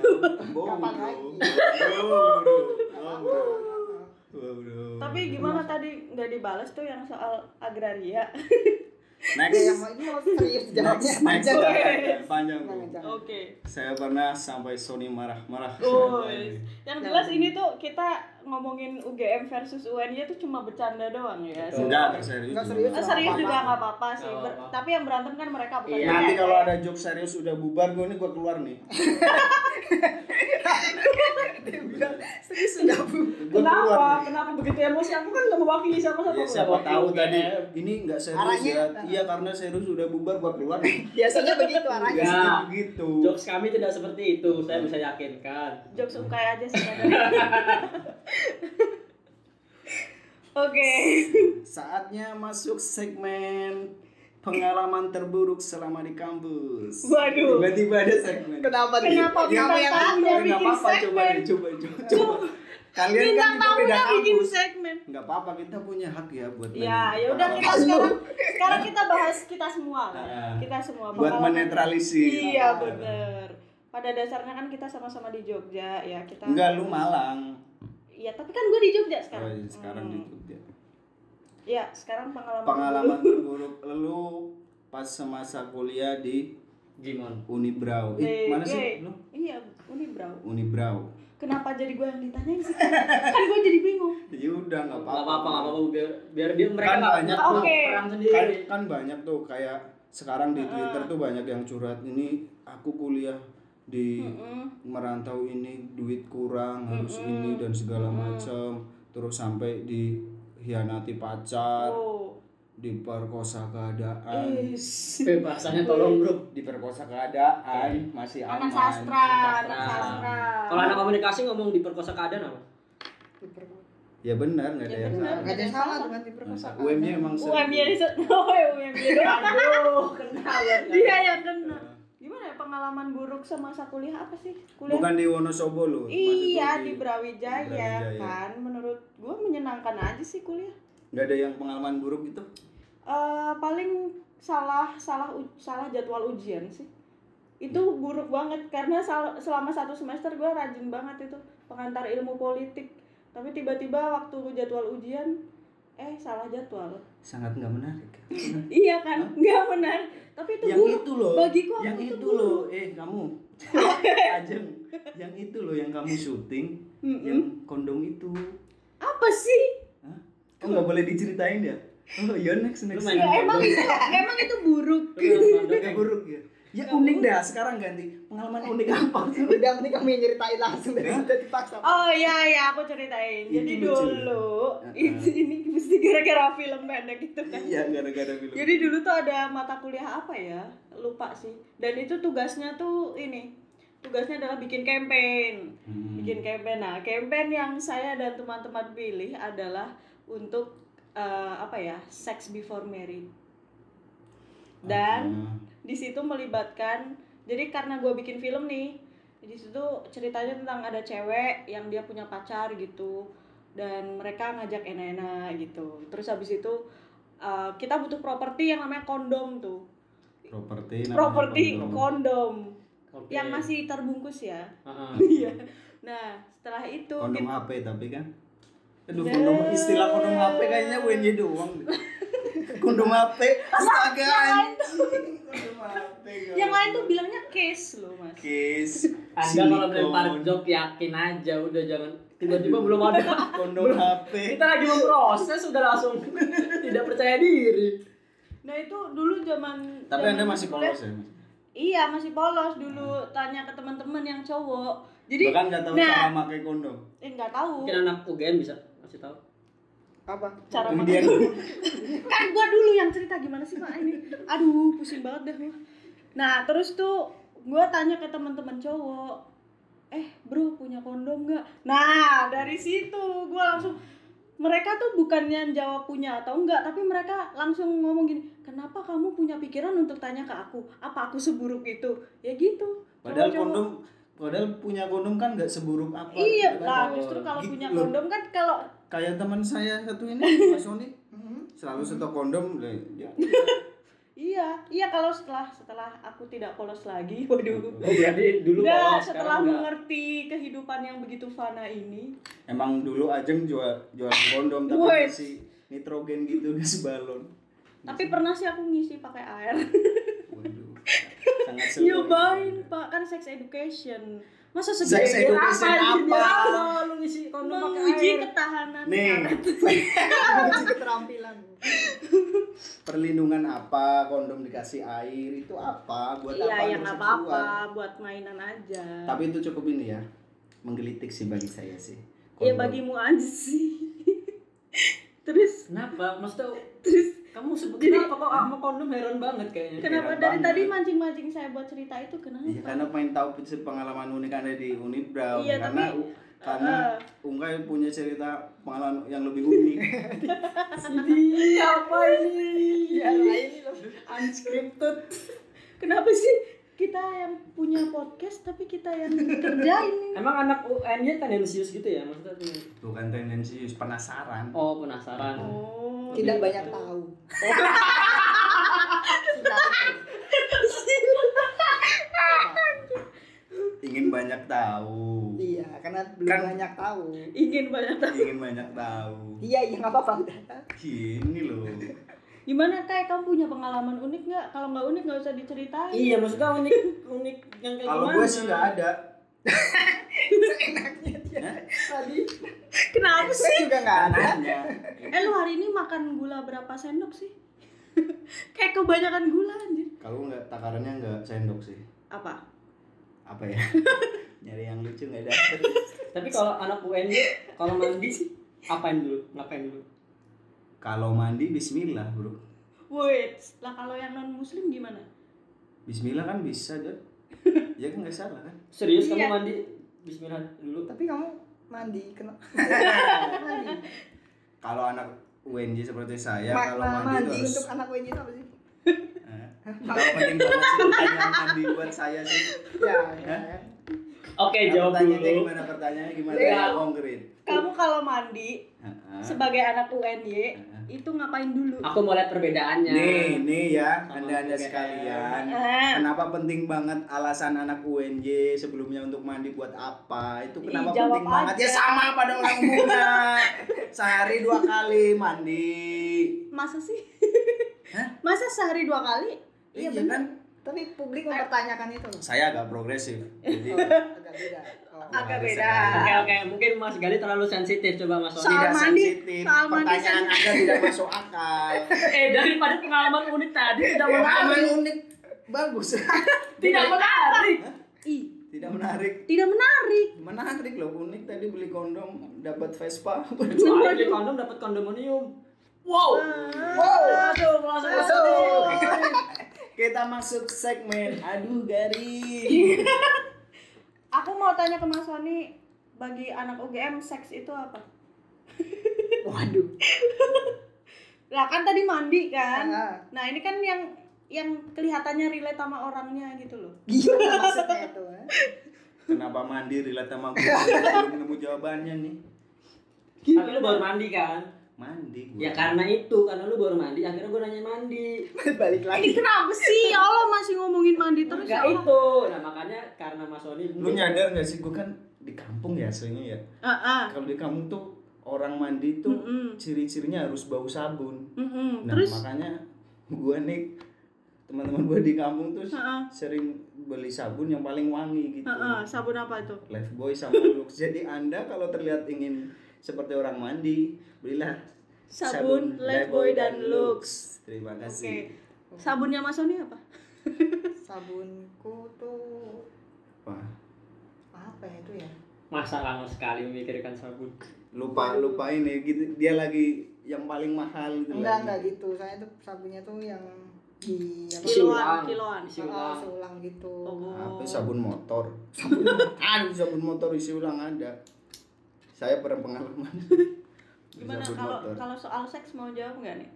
[SPEAKER 3] Bohong.
[SPEAKER 4] Kapan
[SPEAKER 3] bro.
[SPEAKER 4] lagi?
[SPEAKER 3] Bohong, bro. Bohong, bro. Bohong, bro.
[SPEAKER 2] Tapi gimana tadi nggak dibales tuh yang soal agraria?
[SPEAKER 4] Ya, yang
[SPEAKER 3] Next.
[SPEAKER 4] mau- ini mau serius
[SPEAKER 3] Next,
[SPEAKER 4] jawabnya.
[SPEAKER 3] next,
[SPEAKER 4] Jangan,
[SPEAKER 3] Panjang, panjang,
[SPEAKER 4] jangan,
[SPEAKER 3] bro.
[SPEAKER 4] jangan.
[SPEAKER 2] Oke.
[SPEAKER 3] Saya pernah sampai Sony marah-marah.
[SPEAKER 2] Oh,
[SPEAKER 3] Ini.
[SPEAKER 2] yang jelas ini tuh kita ngomongin UGM versus UNY tuh cuma bercanda doang ya.
[SPEAKER 3] Enggak, enggak serius.
[SPEAKER 4] Enggak serius.
[SPEAKER 2] Oh, serius
[SPEAKER 4] Apa-apa.
[SPEAKER 2] juga nggak apa-apa sih.
[SPEAKER 1] Nggak
[SPEAKER 2] Ber-
[SPEAKER 1] apa-apa.
[SPEAKER 2] tapi yang berantem kan mereka bukan.
[SPEAKER 1] Iya.
[SPEAKER 2] kita.
[SPEAKER 3] Nanti kalau ada joke serius udah bubar, gue ini gue keluar nih.
[SPEAKER 4] Dia bilang, Serius sudah bu.
[SPEAKER 3] Gue
[SPEAKER 2] Kenapa?
[SPEAKER 3] keluar. nih.
[SPEAKER 2] Kenapa begitu emosi? Aku kan nggak mewakili siapa satu.
[SPEAKER 1] Iya,
[SPEAKER 3] Ya, siapa
[SPEAKER 2] Iya.
[SPEAKER 3] tahu tadi ini nggak serius
[SPEAKER 4] Arahnya.
[SPEAKER 3] ya? Iya karena serius udah bubar gue keluar. nih.
[SPEAKER 4] Biasanya begitu arahnya.
[SPEAKER 1] Ya.
[SPEAKER 3] Ya gitu.
[SPEAKER 1] jokes kami tidak seperti itu saya bisa yakinkan
[SPEAKER 2] Jokes suka aja sih. Oke.
[SPEAKER 3] Saatnya masuk segmen pengalaman terburuk selama di kampus.
[SPEAKER 2] Waduh.
[SPEAKER 3] Tiba-tiba ada segmen.
[SPEAKER 4] Kenapa? nih?
[SPEAKER 2] Kenapa
[SPEAKER 4] Kamu
[SPEAKER 2] bintang
[SPEAKER 4] yang
[SPEAKER 2] tamunya
[SPEAKER 3] Nggak
[SPEAKER 2] bikin
[SPEAKER 3] apa-apa, coba
[SPEAKER 2] segmen?
[SPEAKER 3] deh, coba coba. coba. Kalian
[SPEAKER 2] Bintang
[SPEAKER 3] kan juga
[SPEAKER 2] tamunya
[SPEAKER 3] beda
[SPEAKER 2] bikin
[SPEAKER 3] kampus.
[SPEAKER 2] segmen.
[SPEAKER 3] Nggak apa-apa kita punya hak ya buat.
[SPEAKER 2] Ya,
[SPEAKER 3] main.
[SPEAKER 2] ya udah kita
[SPEAKER 4] Lu.
[SPEAKER 2] sekarang sekarang kita bahas kita semua. lah.
[SPEAKER 3] Ah.
[SPEAKER 2] Kita semua
[SPEAKER 3] buat
[SPEAKER 2] pengalaman.
[SPEAKER 3] menetralisir.
[SPEAKER 2] Iya, bener. Pada dasarnya kan kita sama-sama di Jogja, ya kita.
[SPEAKER 3] Enggak lu Malang.
[SPEAKER 2] Iya, tapi kan gue di Jogja
[SPEAKER 3] Oh,
[SPEAKER 2] sekarang.
[SPEAKER 3] iya, sekarang di
[SPEAKER 2] Hmm.
[SPEAKER 3] Jogja.
[SPEAKER 2] Iya, sekarang pengalaman.
[SPEAKER 3] Pengalaman terburuk lu pas semasa kuliah di
[SPEAKER 1] Gimon
[SPEAKER 3] Unibrau.
[SPEAKER 2] Yeay,
[SPEAKER 3] Ih, mana
[SPEAKER 2] yeay.
[SPEAKER 3] sih lu?
[SPEAKER 2] Iya, Unibrau.
[SPEAKER 3] Unibrau.
[SPEAKER 2] Kenapa jadi gue yang ditanyain sih? kan gue jadi bingung.
[SPEAKER 3] Ya udah nggak
[SPEAKER 1] nggak
[SPEAKER 3] apa-apa.
[SPEAKER 1] apa-apa nggak apa-apa biar biar dia mereka
[SPEAKER 3] Kan
[SPEAKER 1] nggak
[SPEAKER 3] banyak
[SPEAKER 1] nggak
[SPEAKER 2] tuh.
[SPEAKER 1] perang
[SPEAKER 3] Kan,
[SPEAKER 1] sendiri
[SPEAKER 3] kan banyak tuh kayak sekarang di Twitter tuh banyak yang curhat ini aku kuliah di merantau ini duit kurang harus ini dan segala macam terus sampai dihianati pacar
[SPEAKER 2] Oh.
[SPEAKER 3] diperkosa keadaan
[SPEAKER 1] bebasannya Eh, tolong bro
[SPEAKER 3] diperkosa keadaan masih aman
[SPEAKER 2] Anak sastra,
[SPEAKER 1] anak
[SPEAKER 2] anak
[SPEAKER 1] sastra.
[SPEAKER 2] sastra.
[SPEAKER 1] kalau anak komunikasi ngomong diperkosa keadaan apa
[SPEAKER 3] ya benar nggak ada
[SPEAKER 2] Ya
[SPEAKER 3] yang
[SPEAKER 2] benar.
[SPEAKER 3] salah Hmm.
[SPEAKER 4] Nggak ada yang salah dengan diperkosa.
[SPEAKER 3] UMY Nah, emang serius.
[SPEAKER 2] UMY di Oh, UMY doang.
[SPEAKER 1] aduh kenal
[SPEAKER 2] Dia yang kena. iya, Gimana ya pengalaman buruk semasa kuliah apa sih? Kuliah
[SPEAKER 3] bukan di Wonosobo loh
[SPEAKER 2] Iya
[SPEAKER 3] maksudku
[SPEAKER 2] di Brawijaya
[SPEAKER 3] Brawijaya.
[SPEAKER 2] kan menurut gue menyenangkan aja sih kuliah.
[SPEAKER 3] nggak ada yang pengalaman buruk gitu
[SPEAKER 2] Eh paling salah salah u- salah jadwal ujian sih. Itu buruk banget karena sal- selama satu semester gue rajin banget itu pengantar ilmu politik. Tapi tiba-tiba waktu jadwal ujian eh salah jadwal.
[SPEAKER 3] sangat nggak menarik
[SPEAKER 2] Iya kan? nggak benar. Tapi itu
[SPEAKER 3] yang
[SPEAKER 2] buruk.
[SPEAKER 3] itu loh
[SPEAKER 2] Bagiku
[SPEAKER 3] yang
[SPEAKER 2] aku itu
[SPEAKER 3] itu loh eh kamu ajeng yang itu loh yang kamu syuting
[SPEAKER 2] Mm-mm.
[SPEAKER 3] yang kondom itu
[SPEAKER 2] Apa sih?
[SPEAKER 3] Hah? oh nggak boleh diceritain ya oh iya next
[SPEAKER 1] Lu
[SPEAKER 3] next
[SPEAKER 1] main
[SPEAKER 2] Ya emang itu emang itu buruk.
[SPEAKER 3] Nggak buruk ya ya unik dah sekarang ganti pengalaman unik apa sih
[SPEAKER 4] Udah mending kamu yang nyeritain langsung daripada dipaksa.
[SPEAKER 2] Oh iya iya aku ceritain. Jadi
[SPEAKER 3] Itu lucu. ya.
[SPEAKER 2] dulu
[SPEAKER 3] Heeh.
[SPEAKER 2] ini, ini mesti gara-gara film pendek gitu kan.
[SPEAKER 3] iya gara-gara film
[SPEAKER 2] Jadi dulu tuh ada mata kuliah apa ya? Lupa sih. Dan itu tugasnya tuh ini. Tugasnya adalah bikin campaign.
[SPEAKER 3] Hmm.
[SPEAKER 2] Bikin campaign. Nah, campaign yang saya dan teman-teman pilih adalah untuk eh, apa ya? Sex before marriage. Dan
[SPEAKER 3] Ah.
[SPEAKER 2] di situ melibatkan jadi karena gue bikin film nih di situ ceritanya tentang ada cewek yang dia punya pacar gitu dan mereka ngajak enak-enak gitu terus habis itu uh, kita butuh properti yang namanya kondom tuh
[SPEAKER 3] properti namanya
[SPEAKER 2] properti
[SPEAKER 3] kondom.
[SPEAKER 2] kondom
[SPEAKER 1] Oke. Ah,
[SPEAKER 2] yang masih terbungkus ya
[SPEAKER 1] Heeh.
[SPEAKER 2] iya nah setelah itu
[SPEAKER 3] kondom
[SPEAKER 2] kita-
[SPEAKER 3] HP tapi kan Aduh, kondom istilah kondom HP kayaknya WNJ doang deh. kondom HP astaga anjing kondom HP
[SPEAKER 2] yang lain tuh bilangnya case loh mas
[SPEAKER 3] kis
[SPEAKER 1] Anda kalau melempar jok yakin aja udah jangan tiba-tiba belum ada
[SPEAKER 3] kondom HP
[SPEAKER 1] kita lagi memproses sudah langsung tidak percaya diri
[SPEAKER 2] nah itu dulu zaman
[SPEAKER 3] tapi
[SPEAKER 2] zaman
[SPEAKER 3] anda masih
[SPEAKER 2] kuliah-
[SPEAKER 3] polos ya Mas?
[SPEAKER 2] iya masih polos dulu tanya ke teman-teman yang cowok jadi
[SPEAKER 3] bahkan nggak tahu
[SPEAKER 2] nah.
[SPEAKER 3] cara pakai kondom
[SPEAKER 2] Eh nggak tahu.
[SPEAKER 1] mungkin anak UGM bisa kasih tahu
[SPEAKER 4] Apa?
[SPEAKER 2] Cara
[SPEAKER 3] kemudian
[SPEAKER 2] kan gua dulu yang cerita gimana sih mak ini. Aduh pusing banget dah gua. Nah terus tuh gua tanya ke teman-teman cowok. Eh bro punya kondom nggak? Nah dari situ gua langsung mereka tuh bukannya jawab punya atau enggak tapi mereka langsung ngomong gini kenapa kamu punya pikiran untuk tanya ke aku apa aku seburuk itu ya gitu
[SPEAKER 3] Padahal
[SPEAKER 2] Cowok-cowok.
[SPEAKER 3] kondom padahal punya kondom kan nggak seburuk apa.
[SPEAKER 2] iya
[SPEAKER 3] gitu kan.
[SPEAKER 2] lah
[SPEAKER 1] kalau
[SPEAKER 2] justru kalau
[SPEAKER 3] gig-
[SPEAKER 2] punya
[SPEAKER 3] loh.
[SPEAKER 2] kondom kan kalau
[SPEAKER 3] Kayak teman saya satu ini Mas Sony
[SPEAKER 4] Hmm.
[SPEAKER 3] selalu setok kondom lah, ya.
[SPEAKER 2] iya iya kalau setelah setelah aku tidak polos lagi waduh
[SPEAKER 1] Oh, berarti dulu
[SPEAKER 2] enggak
[SPEAKER 1] polos,
[SPEAKER 2] setelah
[SPEAKER 1] sekarang enggak.
[SPEAKER 2] mengerti kehidupan yang begitu fana ini
[SPEAKER 3] Iya Emang dulu Ajeng jual jual kondom tapi
[SPEAKER 2] Woi.
[SPEAKER 3] si nitrogen gitu di sebalon.
[SPEAKER 2] tapi pernah sih aku ngisi pakai air
[SPEAKER 3] Waduh. Sangat seru.
[SPEAKER 2] nyobain pak kan sex education masa segede
[SPEAKER 3] Sex education
[SPEAKER 2] anjir,
[SPEAKER 3] apa?
[SPEAKER 2] Allah,
[SPEAKER 1] lu ngisi kondom pakai
[SPEAKER 2] menguji
[SPEAKER 1] air.
[SPEAKER 2] ketahanan
[SPEAKER 3] Nih,
[SPEAKER 2] karet.
[SPEAKER 4] Kunci keterampilan
[SPEAKER 3] perlindungan apa kondom dikasih air itu apa buat apa
[SPEAKER 2] iya yang
[SPEAKER 3] terus
[SPEAKER 2] nggak
[SPEAKER 3] keluar?
[SPEAKER 2] apa-apa buat mainan aja
[SPEAKER 3] Tapi itu cukup ini ya. Menggelitik sih bagi saya sih.
[SPEAKER 2] ya
[SPEAKER 3] Kondom.
[SPEAKER 2] bagimu aja sih terus
[SPEAKER 1] Kenapa? Maksudnya
[SPEAKER 2] terus
[SPEAKER 1] kamu sebut
[SPEAKER 2] Jadi-
[SPEAKER 1] kenapa kok sama kondom heran banget kayaknya.
[SPEAKER 2] kenapa
[SPEAKER 3] Heran
[SPEAKER 2] dari
[SPEAKER 3] banget.
[SPEAKER 2] tadi mancing-mancing saya buat cerita itu kenapa Eh,
[SPEAKER 3] Iya karena pengen tahu persis pengalaman unik anda di Unibrow
[SPEAKER 2] Iya,
[SPEAKER 3] karena
[SPEAKER 2] tapi, eh,
[SPEAKER 3] u- karena Ungkai punya cerita pengalaman yang lebih unik
[SPEAKER 1] Ini apa ini?
[SPEAKER 4] ya lain loh
[SPEAKER 1] Unscripted.
[SPEAKER 2] kenapa sih kita yang punya podcast tapi kita yang kerjain
[SPEAKER 1] Emang anak UN-nya tendensius gitu ya? Maksudnya tuh-
[SPEAKER 3] bukan tendensius penasaran
[SPEAKER 1] Oh, penasaran.
[SPEAKER 2] oh
[SPEAKER 4] tidak
[SPEAKER 2] gitu.
[SPEAKER 4] banyak tahu
[SPEAKER 3] ingin banyak tahu
[SPEAKER 4] iya karena belum
[SPEAKER 3] Kan-
[SPEAKER 4] banyak tahu
[SPEAKER 2] ingin banyak tahu
[SPEAKER 3] ingin banyak tahu
[SPEAKER 4] iya iya nggak apa-apa udah
[SPEAKER 3] gini loh
[SPEAKER 2] gimana kayak kamu punya pengalaman unik nggak kalau nggak unik nggak usah diceritain
[SPEAKER 1] Iya, maksudnya unik unik yang kayak
[SPEAKER 3] kalau
[SPEAKER 1] gimana?
[SPEAKER 3] gue sih nggak ada
[SPEAKER 4] seenaknya dia tadi
[SPEAKER 2] kenapa
[SPEAKER 4] saya juga nggak ada
[SPEAKER 3] anaknya
[SPEAKER 2] eh lu hari ini makan gula berapa sendok sih kayak kebanyakan gula anjir
[SPEAKER 3] kalau nggak takarannya nggak sendok sih
[SPEAKER 2] apa
[SPEAKER 3] apa ya nyari yang lucu nggak dapet
[SPEAKER 1] Tapi kalau anak UN dia kalau mandi apain dulu? Ngapain dulu?
[SPEAKER 3] kalau mandi Bismillah bro
[SPEAKER 2] wait lah kalau yang non muslim gimana
[SPEAKER 3] Bismillah kan bisa deh ya kan nggak salah kan
[SPEAKER 1] Serius
[SPEAKER 2] Iya.
[SPEAKER 1] kamu mandi bismillah dulu?
[SPEAKER 4] tapi kamu mandi kena
[SPEAKER 3] Ya,
[SPEAKER 4] mandi
[SPEAKER 3] kalau anak UNJ seperti saya Ya, kalau mandi, itu
[SPEAKER 4] makna mandi
[SPEAKER 3] harus
[SPEAKER 4] untuk anak UNJ itu apa sih
[SPEAKER 3] Eh, kalau penting banget sih pertanyaan mandi buat saya sih
[SPEAKER 4] ya, ya.
[SPEAKER 1] Oke,
[SPEAKER 3] Nah,
[SPEAKER 1] jawab
[SPEAKER 3] pertanyaannya
[SPEAKER 1] dulu.
[SPEAKER 3] gimana pertanyaannya gimana
[SPEAKER 1] Iya.
[SPEAKER 3] yang konkret
[SPEAKER 2] kamu kalau mandi
[SPEAKER 3] Heeh.
[SPEAKER 2] sebagai anak UNY
[SPEAKER 3] Heeh.
[SPEAKER 2] itu ngapain dulu
[SPEAKER 1] Aku mau lihat perbedaannya.
[SPEAKER 3] nih nih ya
[SPEAKER 1] Sama
[SPEAKER 3] anda anda
[SPEAKER 1] UGM.
[SPEAKER 3] sekalian
[SPEAKER 2] ah,
[SPEAKER 3] kenapa penting banget alasan anak UNJ sebelumnya untuk mandi buat apa itu
[SPEAKER 2] Ih,
[SPEAKER 3] kenapa
[SPEAKER 2] jawab
[SPEAKER 3] penting banget ya
[SPEAKER 2] aja.
[SPEAKER 3] sama pada orang muda sehari dua kali mandi
[SPEAKER 2] masa sih
[SPEAKER 3] Hah?
[SPEAKER 2] masa sehari dua kali iya
[SPEAKER 3] iya
[SPEAKER 2] bener
[SPEAKER 3] kan
[SPEAKER 4] tapi publik mempertanyakan itu loh
[SPEAKER 3] saya agak progresif jadi
[SPEAKER 4] Oh, agak beda oh.
[SPEAKER 2] agak
[SPEAKER 3] Harus
[SPEAKER 2] beda
[SPEAKER 3] ada.
[SPEAKER 1] Oke oke, mungkin Mas Gali terlalu sensitif coba Mas Sony.
[SPEAKER 2] Soal
[SPEAKER 3] tidak
[SPEAKER 2] mandi-
[SPEAKER 3] sensitif
[SPEAKER 2] soal mandi kan
[SPEAKER 3] pertanyaan anda tidak masuk akal
[SPEAKER 1] Eh daripada pengalaman unik tadi tidak
[SPEAKER 3] pengalaman unik bagus
[SPEAKER 1] Iya. tidak menarik.
[SPEAKER 2] Ih,
[SPEAKER 3] tidak menarik
[SPEAKER 2] tidak menarik
[SPEAKER 3] menarik loh unik tadi beli kondom dapat Vespa
[SPEAKER 1] Kecuali beli kondom dapat kondominium. Wow.
[SPEAKER 2] Ah.
[SPEAKER 4] Wow.
[SPEAKER 1] Aduh, langsung
[SPEAKER 4] Aduh.
[SPEAKER 1] kesel.
[SPEAKER 3] kita masuk segmen aduh garing
[SPEAKER 2] aku mau tanya ke Mas Sony bagi anak UGM seks itu apa
[SPEAKER 4] waduh
[SPEAKER 2] lah kan tadi mandi kan
[SPEAKER 4] Ah,
[SPEAKER 2] nah ini kan yang yang kelihatannya relate sama orangnya gitu loh
[SPEAKER 4] gimana maksudnya itu eh?
[SPEAKER 3] kenapa mandi relate sama gue belum nemu jawabannya nih
[SPEAKER 1] Tapi lu baru mandi kan?
[SPEAKER 3] mandi gue
[SPEAKER 1] Ya
[SPEAKER 2] kan.
[SPEAKER 1] karena itu, karena lu baru mandi, akhirnya gue nanya mandi.
[SPEAKER 4] balik
[SPEAKER 2] ini
[SPEAKER 4] lagi
[SPEAKER 2] kenapa sih ya Allah masih ngomongin mandi terus ya
[SPEAKER 1] Enggak
[SPEAKER 2] Allah.
[SPEAKER 1] itu. Nah, makanya karena Mas Sony
[SPEAKER 3] lu nyadar gak sih gue kan di kampung ya aslinya ya
[SPEAKER 2] Ah, ah.
[SPEAKER 3] kalau di kampung tuh orang mandi tuh
[SPEAKER 2] Mm-mm.
[SPEAKER 3] ciri-cirinya harus bau sabun
[SPEAKER 2] Mm-mm.
[SPEAKER 3] nah
[SPEAKER 2] terus
[SPEAKER 3] makanya gue nih teman-teman gue di kampung
[SPEAKER 2] ah,
[SPEAKER 3] tuh
[SPEAKER 2] ah.
[SPEAKER 3] sering beli sabun yang paling wangi gitu
[SPEAKER 2] Ah, ah. sabun apa itu
[SPEAKER 3] Lifebuoy sama Lux. Jadi Anda kalau terlihat ingin seperti orang mandi, belilah
[SPEAKER 2] sabun, Lifebuoy dan Lux
[SPEAKER 3] Terima
[SPEAKER 2] oke
[SPEAKER 3] kasih.
[SPEAKER 2] sabunnya Mas Sony apa
[SPEAKER 4] sabunku tuh
[SPEAKER 3] Wah,
[SPEAKER 4] apa ya itu ya
[SPEAKER 1] masa lama sekali memikirkan sabun.
[SPEAKER 3] lupa lupa ini gitu dia lagi yang paling mahal gitu lagi.
[SPEAKER 4] enggak enggak gitu saya tuh sabunnya tuh yang di apa
[SPEAKER 1] Isi
[SPEAKER 2] kiloan
[SPEAKER 1] ulang.
[SPEAKER 2] kiloan
[SPEAKER 1] Isi
[SPEAKER 4] oh,
[SPEAKER 1] ulang.
[SPEAKER 4] seulang gitu
[SPEAKER 2] Oh.
[SPEAKER 3] Apa Ah, sabun motor? Sabun motor. sabun motor isi ulang ada. Saya pernah pengalaman.
[SPEAKER 2] gimana
[SPEAKER 3] Dicabut
[SPEAKER 2] kalau
[SPEAKER 3] motor.
[SPEAKER 2] kalau soal seks mau jawab nggak nih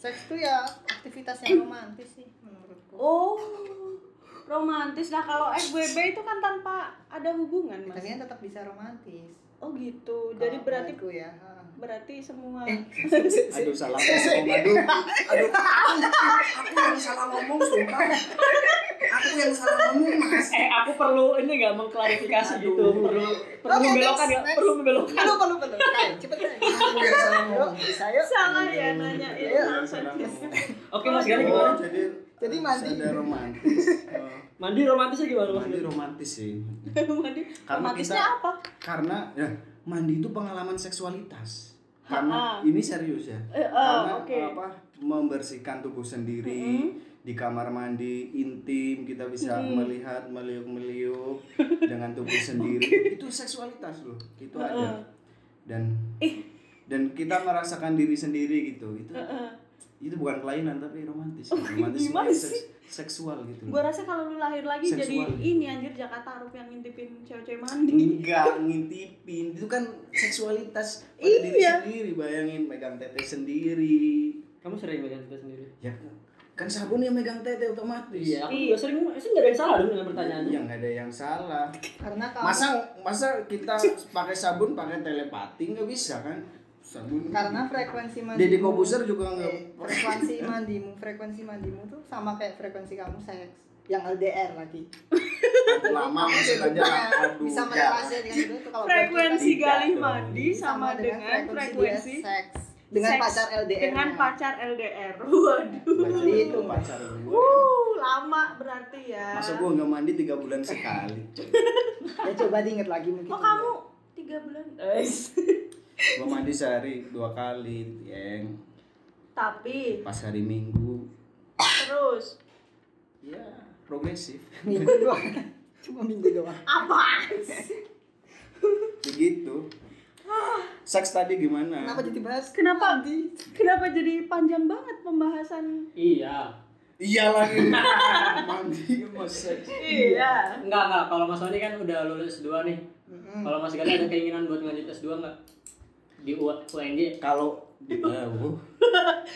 [SPEAKER 4] Seks tuh ya aktivitas yang romantis sih menurutku.
[SPEAKER 2] oh romantis lah kalau FBB itu kan tanpa ada hubungan mas
[SPEAKER 4] Kalian kan tetap bisa romantis.
[SPEAKER 2] oh gitu jadi
[SPEAKER 4] Kalau
[SPEAKER 2] berarti
[SPEAKER 4] menurutku ya. ha.
[SPEAKER 2] berarti semua
[SPEAKER 4] Eh.
[SPEAKER 3] Aduh salah ngomong aduh. Aduh. Aku yang salah ngomong sumpah. Aku yang salah ngomong Mas.
[SPEAKER 1] eh aku perlu ini nggak mengklarifikasi gitu perlu perlu
[SPEAKER 4] Oke,
[SPEAKER 1] membelokkan
[SPEAKER 4] next,
[SPEAKER 1] nggak
[SPEAKER 4] next.
[SPEAKER 1] perlu membelokkan
[SPEAKER 4] Lupa lupa lupa. Kayak cepet kayak.
[SPEAKER 3] Aku yang salah ngomong.
[SPEAKER 4] Saya
[SPEAKER 2] salah ya nanya
[SPEAKER 4] Iya,
[SPEAKER 2] itu langsung
[SPEAKER 1] oke mas Gali
[SPEAKER 3] Oh,
[SPEAKER 1] gimana
[SPEAKER 3] jadi
[SPEAKER 4] Jadi mandi.
[SPEAKER 3] Ada romantis. Oh,
[SPEAKER 1] mandi romantisnya gimana mas
[SPEAKER 3] mandi romantis sih.
[SPEAKER 2] mandi
[SPEAKER 3] Karena
[SPEAKER 2] romantisnya
[SPEAKER 3] kita-
[SPEAKER 2] apa
[SPEAKER 3] Karena ya, mandi itu pengalaman seksualitas.
[SPEAKER 2] Ha-ha.
[SPEAKER 3] Karena ini serius ya.
[SPEAKER 2] eh, eh,
[SPEAKER 3] Karena
[SPEAKER 2] oke Mm-hmm.
[SPEAKER 3] apa membersihkan tubuh sendiri di kamar mandi intim kita bisa melihat meliuk-meliuk dengan tubuh sendiri. Itu seksualitas loh. Itu ada. Dan dan kita merasakan diri sendiri gitu. Itu itu bukan kelainan tapi romantis. romantis
[SPEAKER 2] Oh, gimana
[SPEAKER 3] ini
[SPEAKER 2] sih?
[SPEAKER 3] seks- seksual gitu.
[SPEAKER 2] Gua rasa kalau lu lahir lagi jadi
[SPEAKER 3] Seksual. Hmm.
[SPEAKER 2] ini anjir Jakarta Arup yang ngintipin cewek-cewek mandi.
[SPEAKER 3] enggak ngintipin itu kan seksualitas pada diri
[SPEAKER 2] Iya.
[SPEAKER 3] sendiri bayangin megang tete sendiri
[SPEAKER 1] kamu sering megang kita sendiri
[SPEAKER 3] ya kan sabun yang megang tete otomatis
[SPEAKER 1] iya aku juga sering itu nggak ada yang salah dong dengan pertanyaannya
[SPEAKER 3] yang ada yang salah
[SPEAKER 4] Karena kalau
[SPEAKER 3] masa masa kita pakai sabun pakai telepati nggak bisa kan sabun
[SPEAKER 4] karena frekuensi mandi.
[SPEAKER 3] Deddy Kobuser juga nggak
[SPEAKER 4] Eh, frekuensi mandimu, frekuensi mandimu tuh sama kayak frekuensi kamu seks yang LDR lagi.
[SPEAKER 3] lama masuk aja aduh
[SPEAKER 4] bisa
[SPEAKER 3] ya.
[SPEAKER 4] merelasi dengan itu itu kalau buat kita
[SPEAKER 2] Frekuensi
[SPEAKER 3] Tidak
[SPEAKER 2] galih
[SPEAKER 3] dong.
[SPEAKER 2] mandi sama dengan frekuensi
[SPEAKER 4] dia seks dengan
[SPEAKER 2] seks
[SPEAKER 4] pacar LDR.
[SPEAKER 2] dengan pacar LDR. Waduh.
[SPEAKER 3] Jadi itu
[SPEAKER 4] Waduh.
[SPEAKER 3] pacar gue
[SPEAKER 2] Uh, lama berarti ya.
[SPEAKER 3] masa gue nggak mandi tiga bulan sekali
[SPEAKER 4] Ya coba diinget lagi mungkin.
[SPEAKER 2] Oh kamu tiga bulan.
[SPEAKER 1] Iya.
[SPEAKER 2] Eh.
[SPEAKER 3] gue mandi sehari dua kali yang
[SPEAKER 2] Tapi
[SPEAKER 3] pas hari minggu
[SPEAKER 2] terus
[SPEAKER 3] ya progresif
[SPEAKER 4] minggu doang. Cuma minggu doang.
[SPEAKER 2] apa?
[SPEAKER 3] begitu seks tadi gimana
[SPEAKER 4] Kenapa jadi bahas?
[SPEAKER 2] Kenapa? Kenapa jadi panjang banget pembahasan?
[SPEAKER 1] iya
[SPEAKER 3] iya lagi mandi mau seks
[SPEAKER 2] Iya.
[SPEAKER 1] enggak enggak kalau mas Sony kan udah lulus dua nih
[SPEAKER 4] Mm-mm.
[SPEAKER 1] kalau mas Gali ada keinginan buat lanjut S2 nggak di U- UNJ
[SPEAKER 3] kalau di bawah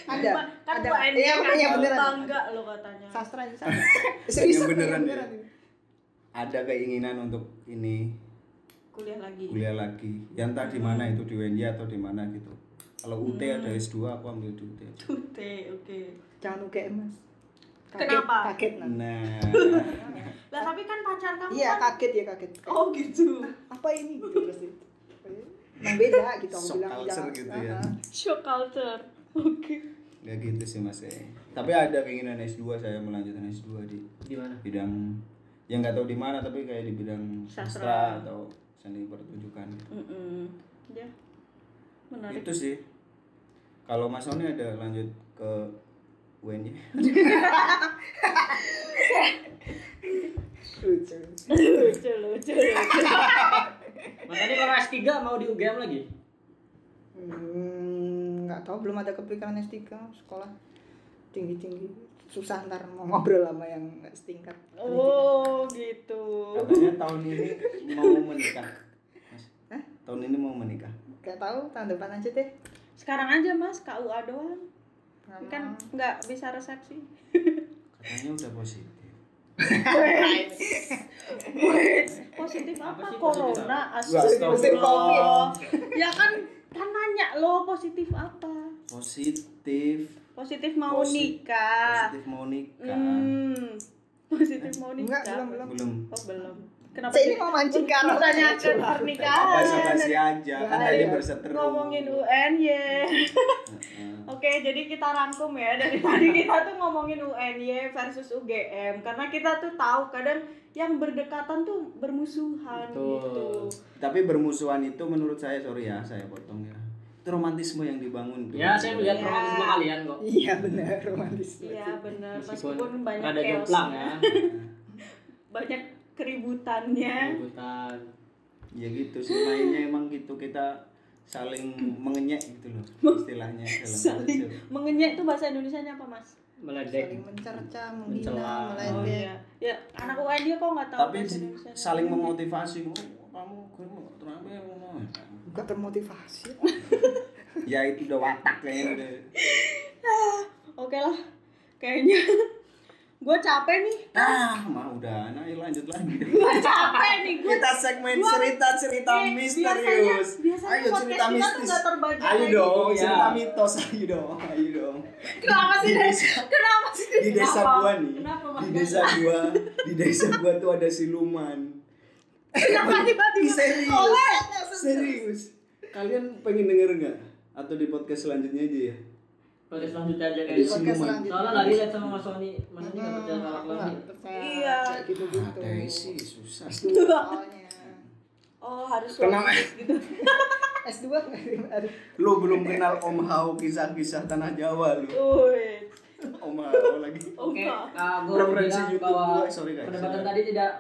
[SPEAKER 4] Ada.
[SPEAKER 2] Kan
[SPEAKER 4] ada.
[SPEAKER 2] Pak Endi
[SPEAKER 4] Iya,
[SPEAKER 2] kan
[SPEAKER 4] makanya beneran.
[SPEAKER 2] bangga lo katanya.
[SPEAKER 4] Sastra Iya, ini sastra.
[SPEAKER 3] Yang
[SPEAKER 4] Serius
[SPEAKER 3] Iya, beneran
[SPEAKER 4] yang
[SPEAKER 3] ya. ada keinginan untuk ini
[SPEAKER 2] Kuliah lagi.
[SPEAKER 3] kuliah lagi yang entah di mana itu di UNJ atau di mana gitu kalau UT
[SPEAKER 4] Hmm.
[SPEAKER 3] ada S2 aku ambil di UT
[SPEAKER 2] Tute, oke.
[SPEAKER 4] Jangan UGM mas. Kaget,
[SPEAKER 2] Kenapa?
[SPEAKER 4] Kaget nanti.
[SPEAKER 3] nah
[SPEAKER 2] Lah tapi kan pacar kamu
[SPEAKER 4] Iya
[SPEAKER 2] kan.
[SPEAKER 4] kaget ya kaget.
[SPEAKER 2] Oh gitu.
[SPEAKER 4] Apa ini gitu pasti. Emang beda gitu
[SPEAKER 3] Shock
[SPEAKER 4] aku bilang
[SPEAKER 3] culture gitu ya.
[SPEAKER 4] Ah, ah.
[SPEAKER 2] Shock culture. Oke.
[SPEAKER 3] nggak gitu sih mas eh. tapi ada keinginan S2 saya melanjutkan S2 di
[SPEAKER 1] di mana
[SPEAKER 3] bidang yang nggak tahu di mana tapi kayak di bidang
[SPEAKER 2] Sastra.
[SPEAKER 3] sastra atau seni pertunjukan
[SPEAKER 2] Mm-mm. Ya. Menarik.
[SPEAKER 3] itu sih kalau Mas Sony ada lanjut ke UNJ
[SPEAKER 4] Lucu.
[SPEAKER 2] lucu, lucu, lucu.
[SPEAKER 1] mas Sony kalau S3 mau di UGM lagi
[SPEAKER 4] Hmm, nggak tahu belum ada kepikiran S3 sekolah tinggi-tinggi susah ntar mau ngobrol sama yang setingkat
[SPEAKER 2] Oh gitu.
[SPEAKER 3] katanya tahun ini mau menikah Mas
[SPEAKER 4] Hah?
[SPEAKER 3] tahun ini mau menikah
[SPEAKER 4] nggak tahu tahun depan aja deh
[SPEAKER 2] Sekarang aja mas KUA doang.
[SPEAKER 4] Nggak
[SPEAKER 2] Ini Kan
[SPEAKER 4] mau.
[SPEAKER 2] nggak bisa resepsi.
[SPEAKER 3] katanya udah positif
[SPEAKER 2] Positif
[SPEAKER 1] Apa
[SPEAKER 2] apa?
[SPEAKER 1] sih positif
[SPEAKER 2] Corona
[SPEAKER 3] Astagfirullah.
[SPEAKER 2] astagfirullah. Ya kan kan nanya lo positif apa?
[SPEAKER 3] positif
[SPEAKER 2] Positif mau
[SPEAKER 3] Posi-
[SPEAKER 2] nikah.
[SPEAKER 3] positif mau
[SPEAKER 2] Ah.
[SPEAKER 3] nikah
[SPEAKER 2] Hmm. Positif mau nikah.
[SPEAKER 4] Enggak, belum, belum.
[SPEAKER 3] belum
[SPEAKER 2] Oh, belum. Kenapa?
[SPEAKER 4] Saya ini
[SPEAKER 2] jadi-
[SPEAKER 4] mau mancing kan? ke arah
[SPEAKER 2] Ditanyakan
[SPEAKER 4] mana?
[SPEAKER 3] apa
[SPEAKER 2] pernikahan.
[SPEAKER 3] sih aja kan
[SPEAKER 4] Ya,
[SPEAKER 3] tadi
[SPEAKER 4] ya.
[SPEAKER 3] berseteru
[SPEAKER 2] iya.
[SPEAKER 3] Nah,
[SPEAKER 2] Ngomongin UNY.
[SPEAKER 3] Heeh.
[SPEAKER 2] Oke, jadi kita rangkum ya dari tadi kita tuh ngomongin UNY versus UGM karena kita tuh tahu kadang yang berdekatan tuh bermusuhan
[SPEAKER 1] Betul.
[SPEAKER 2] gitu.
[SPEAKER 3] tapi bermusuhan itu menurut saya sorry ya saya potong ya itu romantisme yang dibangun tuh.
[SPEAKER 1] ya saya melihat
[SPEAKER 2] Iya.
[SPEAKER 1] romantisme kalian kok
[SPEAKER 4] iya benar romantis
[SPEAKER 2] Iya, benar. Meskipun
[SPEAKER 1] Ya, meskipun
[SPEAKER 2] banyak
[SPEAKER 1] ada
[SPEAKER 2] chaos,
[SPEAKER 1] jomplang ya
[SPEAKER 2] banyak keributannya.
[SPEAKER 1] Keributan.
[SPEAKER 3] ya gitu sih mainnya emang gitu kita saling mengenyek gitu loh istilahnya dalam
[SPEAKER 2] Saling
[SPEAKER 3] bahasa.
[SPEAKER 2] mengenyek tuh bahasa Indonesianya apa, Mas?
[SPEAKER 1] meledek
[SPEAKER 4] saling mencerca menghina
[SPEAKER 1] Mencela.
[SPEAKER 2] Oh
[SPEAKER 4] meledek
[SPEAKER 2] iya. Ya, anak UNY kok nggak tahu
[SPEAKER 3] tapi
[SPEAKER 2] bahasa
[SPEAKER 3] di-
[SPEAKER 2] Indonesianya.
[SPEAKER 3] saling memotivasi oh, kamu gue mau terampil, mau
[SPEAKER 4] bukan termotivasi
[SPEAKER 3] ya itu udah watak kayaknya udah.
[SPEAKER 2] Oke lah, kayaknya gue capek nih,
[SPEAKER 3] Ah, mah udah, nah ya lanjut lagi.
[SPEAKER 2] gue capek nih, gue
[SPEAKER 3] Kita segmen
[SPEAKER 2] Gua-
[SPEAKER 3] cerita-cerita misterius.
[SPEAKER 2] Biasanya, biasanya
[SPEAKER 3] Ayo
[SPEAKER 2] podcast kita
[SPEAKER 3] cerita
[SPEAKER 2] tuh
[SPEAKER 3] mistis.
[SPEAKER 2] gak terbagi.
[SPEAKER 3] Ayo
[SPEAKER 2] lagi. Iya.
[SPEAKER 3] dong,
[SPEAKER 1] ya.
[SPEAKER 3] cerita mitos, ayo dong, ayo dong.
[SPEAKER 2] Kenapa sih
[SPEAKER 3] Di
[SPEAKER 2] dari?
[SPEAKER 3] desa-
[SPEAKER 2] Kenapa sih
[SPEAKER 3] Di desa
[SPEAKER 2] Kenapa?
[SPEAKER 3] gua nih,
[SPEAKER 2] Kenapa
[SPEAKER 3] di
[SPEAKER 2] Mas?
[SPEAKER 3] desa gua, di desa gua tuh ada siluman.
[SPEAKER 2] Kenapa
[SPEAKER 3] Ih,
[SPEAKER 2] tiba-tiba? Oh, eh,
[SPEAKER 3] serius,
[SPEAKER 2] Oleh.
[SPEAKER 3] serius. Kalian pengen denger nggak? Atau di podcast selanjutnya aja ya?
[SPEAKER 1] Podcast selanjutnya aja
[SPEAKER 3] Di
[SPEAKER 1] kayaknya.
[SPEAKER 4] podcast
[SPEAKER 3] siluman.
[SPEAKER 4] selanjutnya.
[SPEAKER 1] Soalnya lagi lihat sama Mas Sony, Mas Sony nggak percaya sama
[SPEAKER 4] Hmm,
[SPEAKER 1] aku lagi.
[SPEAKER 4] nggak percaya.
[SPEAKER 2] Iya.
[SPEAKER 4] Kayak gitu-gitu.
[SPEAKER 3] Ada sih, susah.
[SPEAKER 4] S2 soalnya.
[SPEAKER 2] Oh harus
[SPEAKER 3] Kenapa?
[SPEAKER 2] gitu.
[SPEAKER 4] S2 aduh.
[SPEAKER 3] Lu belum kenal Om Hao kisah-kisah tanah Jawa lu.
[SPEAKER 2] Wih.
[SPEAKER 3] Om Hao lagi.
[SPEAKER 1] Oke,
[SPEAKER 2] Enggak.
[SPEAKER 1] uh, gue
[SPEAKER 3] Referensi
[SPEAKER 1] bilang
[SPEAKER 3] YouTube
[SPEAKER 1] bahwa
[SPEAKER 3] gue, sorry guys.
[SPEAKER 1] perdebatan tadi tidak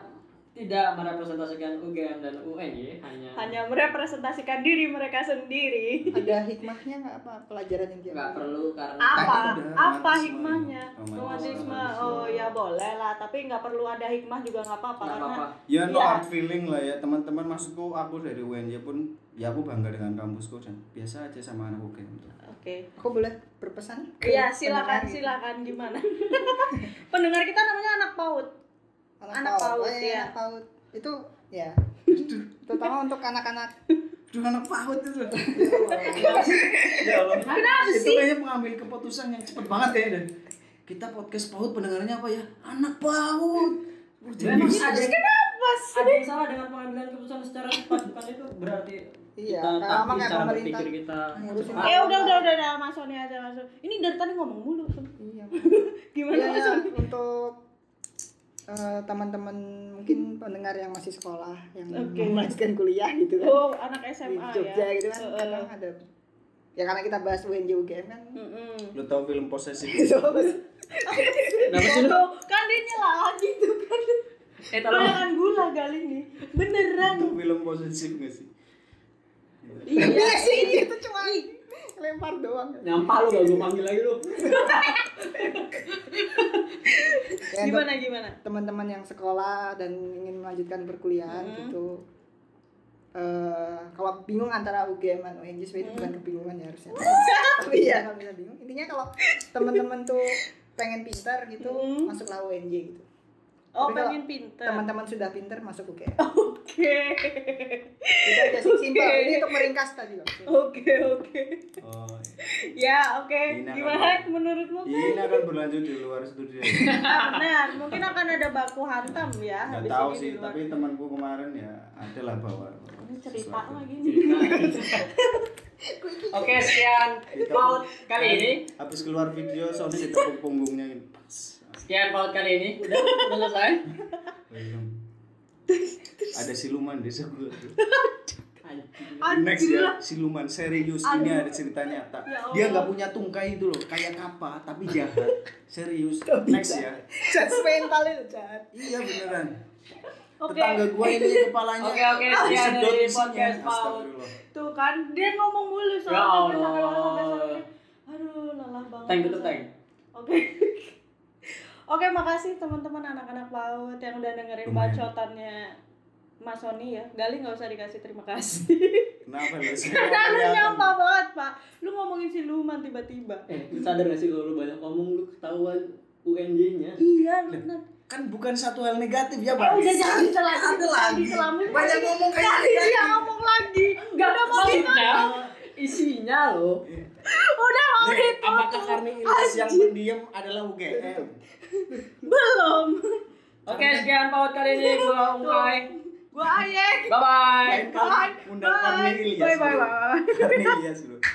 [SPEAKER 1] tidak merepresentasikan UGM dan UNY hanya
[SPEAKER 2] Hanya merepresentasikan diri mereka sendiri.
[SPEAKER 4] ada hikmahnya nggak apa pelajaran yang dia
[SPEAKER 1] nggak perlu karena
[SPEAKER 2] Apa?
[SPEAKER 3] udah,
[SPEAKER 2] Apa
[SPEAKER 3] romantisme.
[SPEAKER 2] hikmahnya?
[SPEAKER 3] Romantisme.
[SPEAKER 2] Romantisme. Oh ya boleh lah, tapi nggak perlu ada hikmah juga nggak apa-apa
[SPEAKER 1] nggak
[SPEAKER 2] karena
[SPEAKER 1] apa-apa.
[SPEAKER 3] Ya no
[SPEAKER 2] Iya.
[SPEAKER 3] hard feeling lah ya teman-teman maksudku aku dari UNJ pun ya aku bangga dengan kampusku dan biasa aja sama gitu. anak UGM tuh.
[SPEAKER 2] Oke.
[SPEAKER 4] aku boleh berpesan gitu. ke
[SPEAKER 2] Iya, silakan
[SPEAKER 4] pendengar?
[SPEAKER 2] silakan gimana? pendengar kita namanya anak PAUD. Anak paut,
[SPEAKER 4] eh,
[SPEAKER 2] iya.
[SPEAKER 4] anak paut itu ya terutama untuk anak-anak
[SPEAKER 3] Aduh anak PAUD itu. ya Allah.
[SPEAKER 2] Kenapa
[SPEAKER 3] itu
[SPEAKER 2] sih?
[SPEAKER 3] kayaknya pengambil keputusan yang cepet banget kayaknya deh. Kita podcast PAUD pendengarnya apa ya? Anak PAUD. Oh,
[SPEAKER 1] Memang
[SPEAKER 3] jenius.
[SPEAKER 1] ada
[SPEAKER 2] Apa sih?
[SPEAKER 1] ada yang salah dengan pengambilan keputusan secara cepat bukan itu berarti
[SPEAKER 4] Iya,
[SPEAKER 1] kita
[SPEAKER 4] karena
[SPEAKER 1] takut
[SPEAKER 4] makanya
[SPEAKER 1] cara
[SPEAKER 4] pemerintah
[SPEAKER 1] berpikir kita
[SPEAKER 4] ngurusin
[SPEAKER 1] cepat.
[SPEAKER 2] Eh udah udah udah udah Mas Sony aja Mas Sony. Ini dari tadi ngomong mulu.
[SPEAKER 4] iya
[SPEAKER 2] Gimana
[SPEAKER 4] Ya,
[SPEAKER 2] Mas
[SPEAKER 4] ya,
[SPEAKER 2] Sony?
[SPEAKER 4] untuk eh, teman-teman mungkin pendengar yang masih sekolah yang
[SPEAKER 2] Oke.
[SPEAKER 4] melanjutkan kuliah gitu kan
[SPEAKER 2] Oh, anak
[SPEAKER 4] di
[SPEAKER 2] SMA
[SPEAKER 4] Jogja
[SPEAKER 2] ya.
[SPEAKER 4] gitu kan
[SPEAKER 2] Heeh.
[SPEAKER 4] kadang ada ya karena kita bahas UNJ UGM kan
[SPEAKER 2] Mm-mm.
[SPEAKER 3] Lu tau film posesif?
[SPEAKER 4] itu
[SPEAKER 2] Oh,
[SPEAKER 1] Kenapa sih lu?
[SPEAKER 2] Tuh, kan dia nyela lagi tuh kan.
[SPEAKER 1] Eh tolong.
[SPEAKER 2] Bayangan gula kali ini. Beneran.
[SPEAKER 3] Tau film posesif gak sih?
[SPEAKER 2] Iya sih.
[SPEAKER 4] itu cuma lempar doang
[SPEAKER 1] Nyampah lu gak gue panggil lagi lu.
[SPEAKER 4] Ya, untuk
[SPEAKER 2] Gimana gimana?
[SPEAKER 4] teman-teman yang sekolah dan ingin melanjutkan perkuliahan
[SPEAKER 2] Hmm.
[SPEAKER 4] gitu eh kalau bingung antara UGM dan UNJ sebenarnya itu bukan kebingungan ya harusnya tapi ya kalau bisa bingung intinya kalau teman-teman tuh pengen pintar gitu
[SPEAKER 2] Hmm.
[SPEAKER 4] masuklah UNJ gitu
[SPEAKER 2] Oh,
[SPEAKER 4] Tapi kalau
[SPEAKER 2] pengen pinter.
[SPEAKER 4] teman-teman sudah pintar masuk UGM
[SPEAKER 2] Oke.
[SPEAKER 4] itu aja sih simpel
[SPEAKER 2] Oke.
[SPEAKER 4] ini untuk meringkas tadi loh
[SPEAKER 2] Oke, oke.
[SPEAKER 3] Oh,
[SPEAKER 2] Ya, oke.
[SPEAKER 3] Ini akan-
[SPEAKER 2] Gimana menurutmu?
[SPEAKER 1] Iya,
[SPEAKER 3] ini akan berlanjut di luar studio.
[SPEAKER 2] Ah, benar. Mungkin akan ada baku hantam ya.
[SPEAKER 3] Gak
[SPEAKER 2] habis
[SPEAKER 3] tahu
[SPEAKER 2] ini di
[SPEAKER 3] sih,
[SPEAKER 2] luar.
[SPEAKER 3] tapi temanku kemarin ya adalah bawa.
[SPEAKER 2] Ini cerita
[SPEAKER 3] sesuatu.
[SPEAKER 2] lagi nih.
[SPEAKER 1] Oke, sekian paut kali ini.
[SPEAKER 3] Habis keluar video Sony ditepuk punggungnya ini. Pas.
[SPEAKER 1] Sekian paut kali ini. Udah, udah selesai.
[SPEAKER 3] Belum. Ada siluman desa gue.
[SPEAKER 1] Anjing.
[SPEAKER 2] Anjir
[SPEAKER 3] Next ya,
[SPEAKER 2] lah.
[SPEAKER 3] siluman serius ini
[SPEAKER 2] Aduh.
[SPEAKER 3] ada cerita nyata.
[SPEAKER 2] Ya Allah.
[SPEAKER 3] Dia nggak punya tungkai itu loh, kayak kapal tapi jahat. Serius. Next ya.
[SPEAKER 4] Judge mental itu jahat
[SPEAKER 3] Iya beneran.
[SPEAKER 2] Oke.
[SPEAKER 3] Tetangga gue ini kepalanya.
[SPEAKER 1] Oke, oke, sekian
[SPEAKER 3] disedot
[SPEAKER 1] dari
[SPEAKER 3] isinya.
[SPEAKER 1] podcast paut.
[SPEAKER 3] Astagfirullah.
[SPEAKER 2] Tuh kan, dia ngomong mulu soalnya
[SPEAKER 1] Ya
[SPEAKER 2] sampai- sampai
[SPEAKER 1] Allah.
[SPEAKER 2] sampai- sampai- Aduh, lelah banget.
[SPEAKER 1] Tank tutup tank.
[SPEAKER 2] Oke. Oke, makasih teman-teman anak-anak PAUD yang udah dengerin
[SPEAKER 3] Lumayan.
[SPEAKER 2] bacotannya Mas Sony ya. Gali nggak usah dikasih terima kasih.
[SPEAKER 3] Kenapa lu?
[SPEAKER 2] Karena lu nyampah banget, Pak. Lu ngomongin siluman tiba-tiba.
[SPEAKER 1] Eh, lu sadar gak sih kalau lu banyak ngomong lu ketahuan UNJ-nya?
[SPEAKER 2] Iya, lu kan.
[SPEAKER 3] Kan bukan satu hal negatif
[SPEAKER 2] Eh,
[SPEAKER 3] ya, Bang.
[SPEAKER 2] udah jangan dicela
[SPEAKER 3] Ada lagi.
[SPEAKER 2] Dicela mulu.
[SPEAKER 3] Banyak ngomong kayak
[SPEAKER 2] Tadi dia ngomong lagi. Enggak ada mau
[SPEAKER 1] Maksudnya, isinya lo.
[SPEAKER 2] Udah mau
[SPEAKER 3] Nih,
[SPEAKER 2] ditutup.
[SPEAKER 3] apakah karnilitas yang pendiam adalah UGM?
[SPEAKER 2] Belum.
[SPEAKER 1] Oke, sekian paut kali ini. Gua Ungkai.
[SPEAKER 2] Gua ayek.
[SPEAKER 1] Bye-bye.
[SPEAKER 3] Lain kali undang
[SPEAKER 2] Bye.
[SPEAKER 3] Karnilias.
[SPEAKER 2] Bye bye bye.
[SPEAKER 3] Karnilias dulu.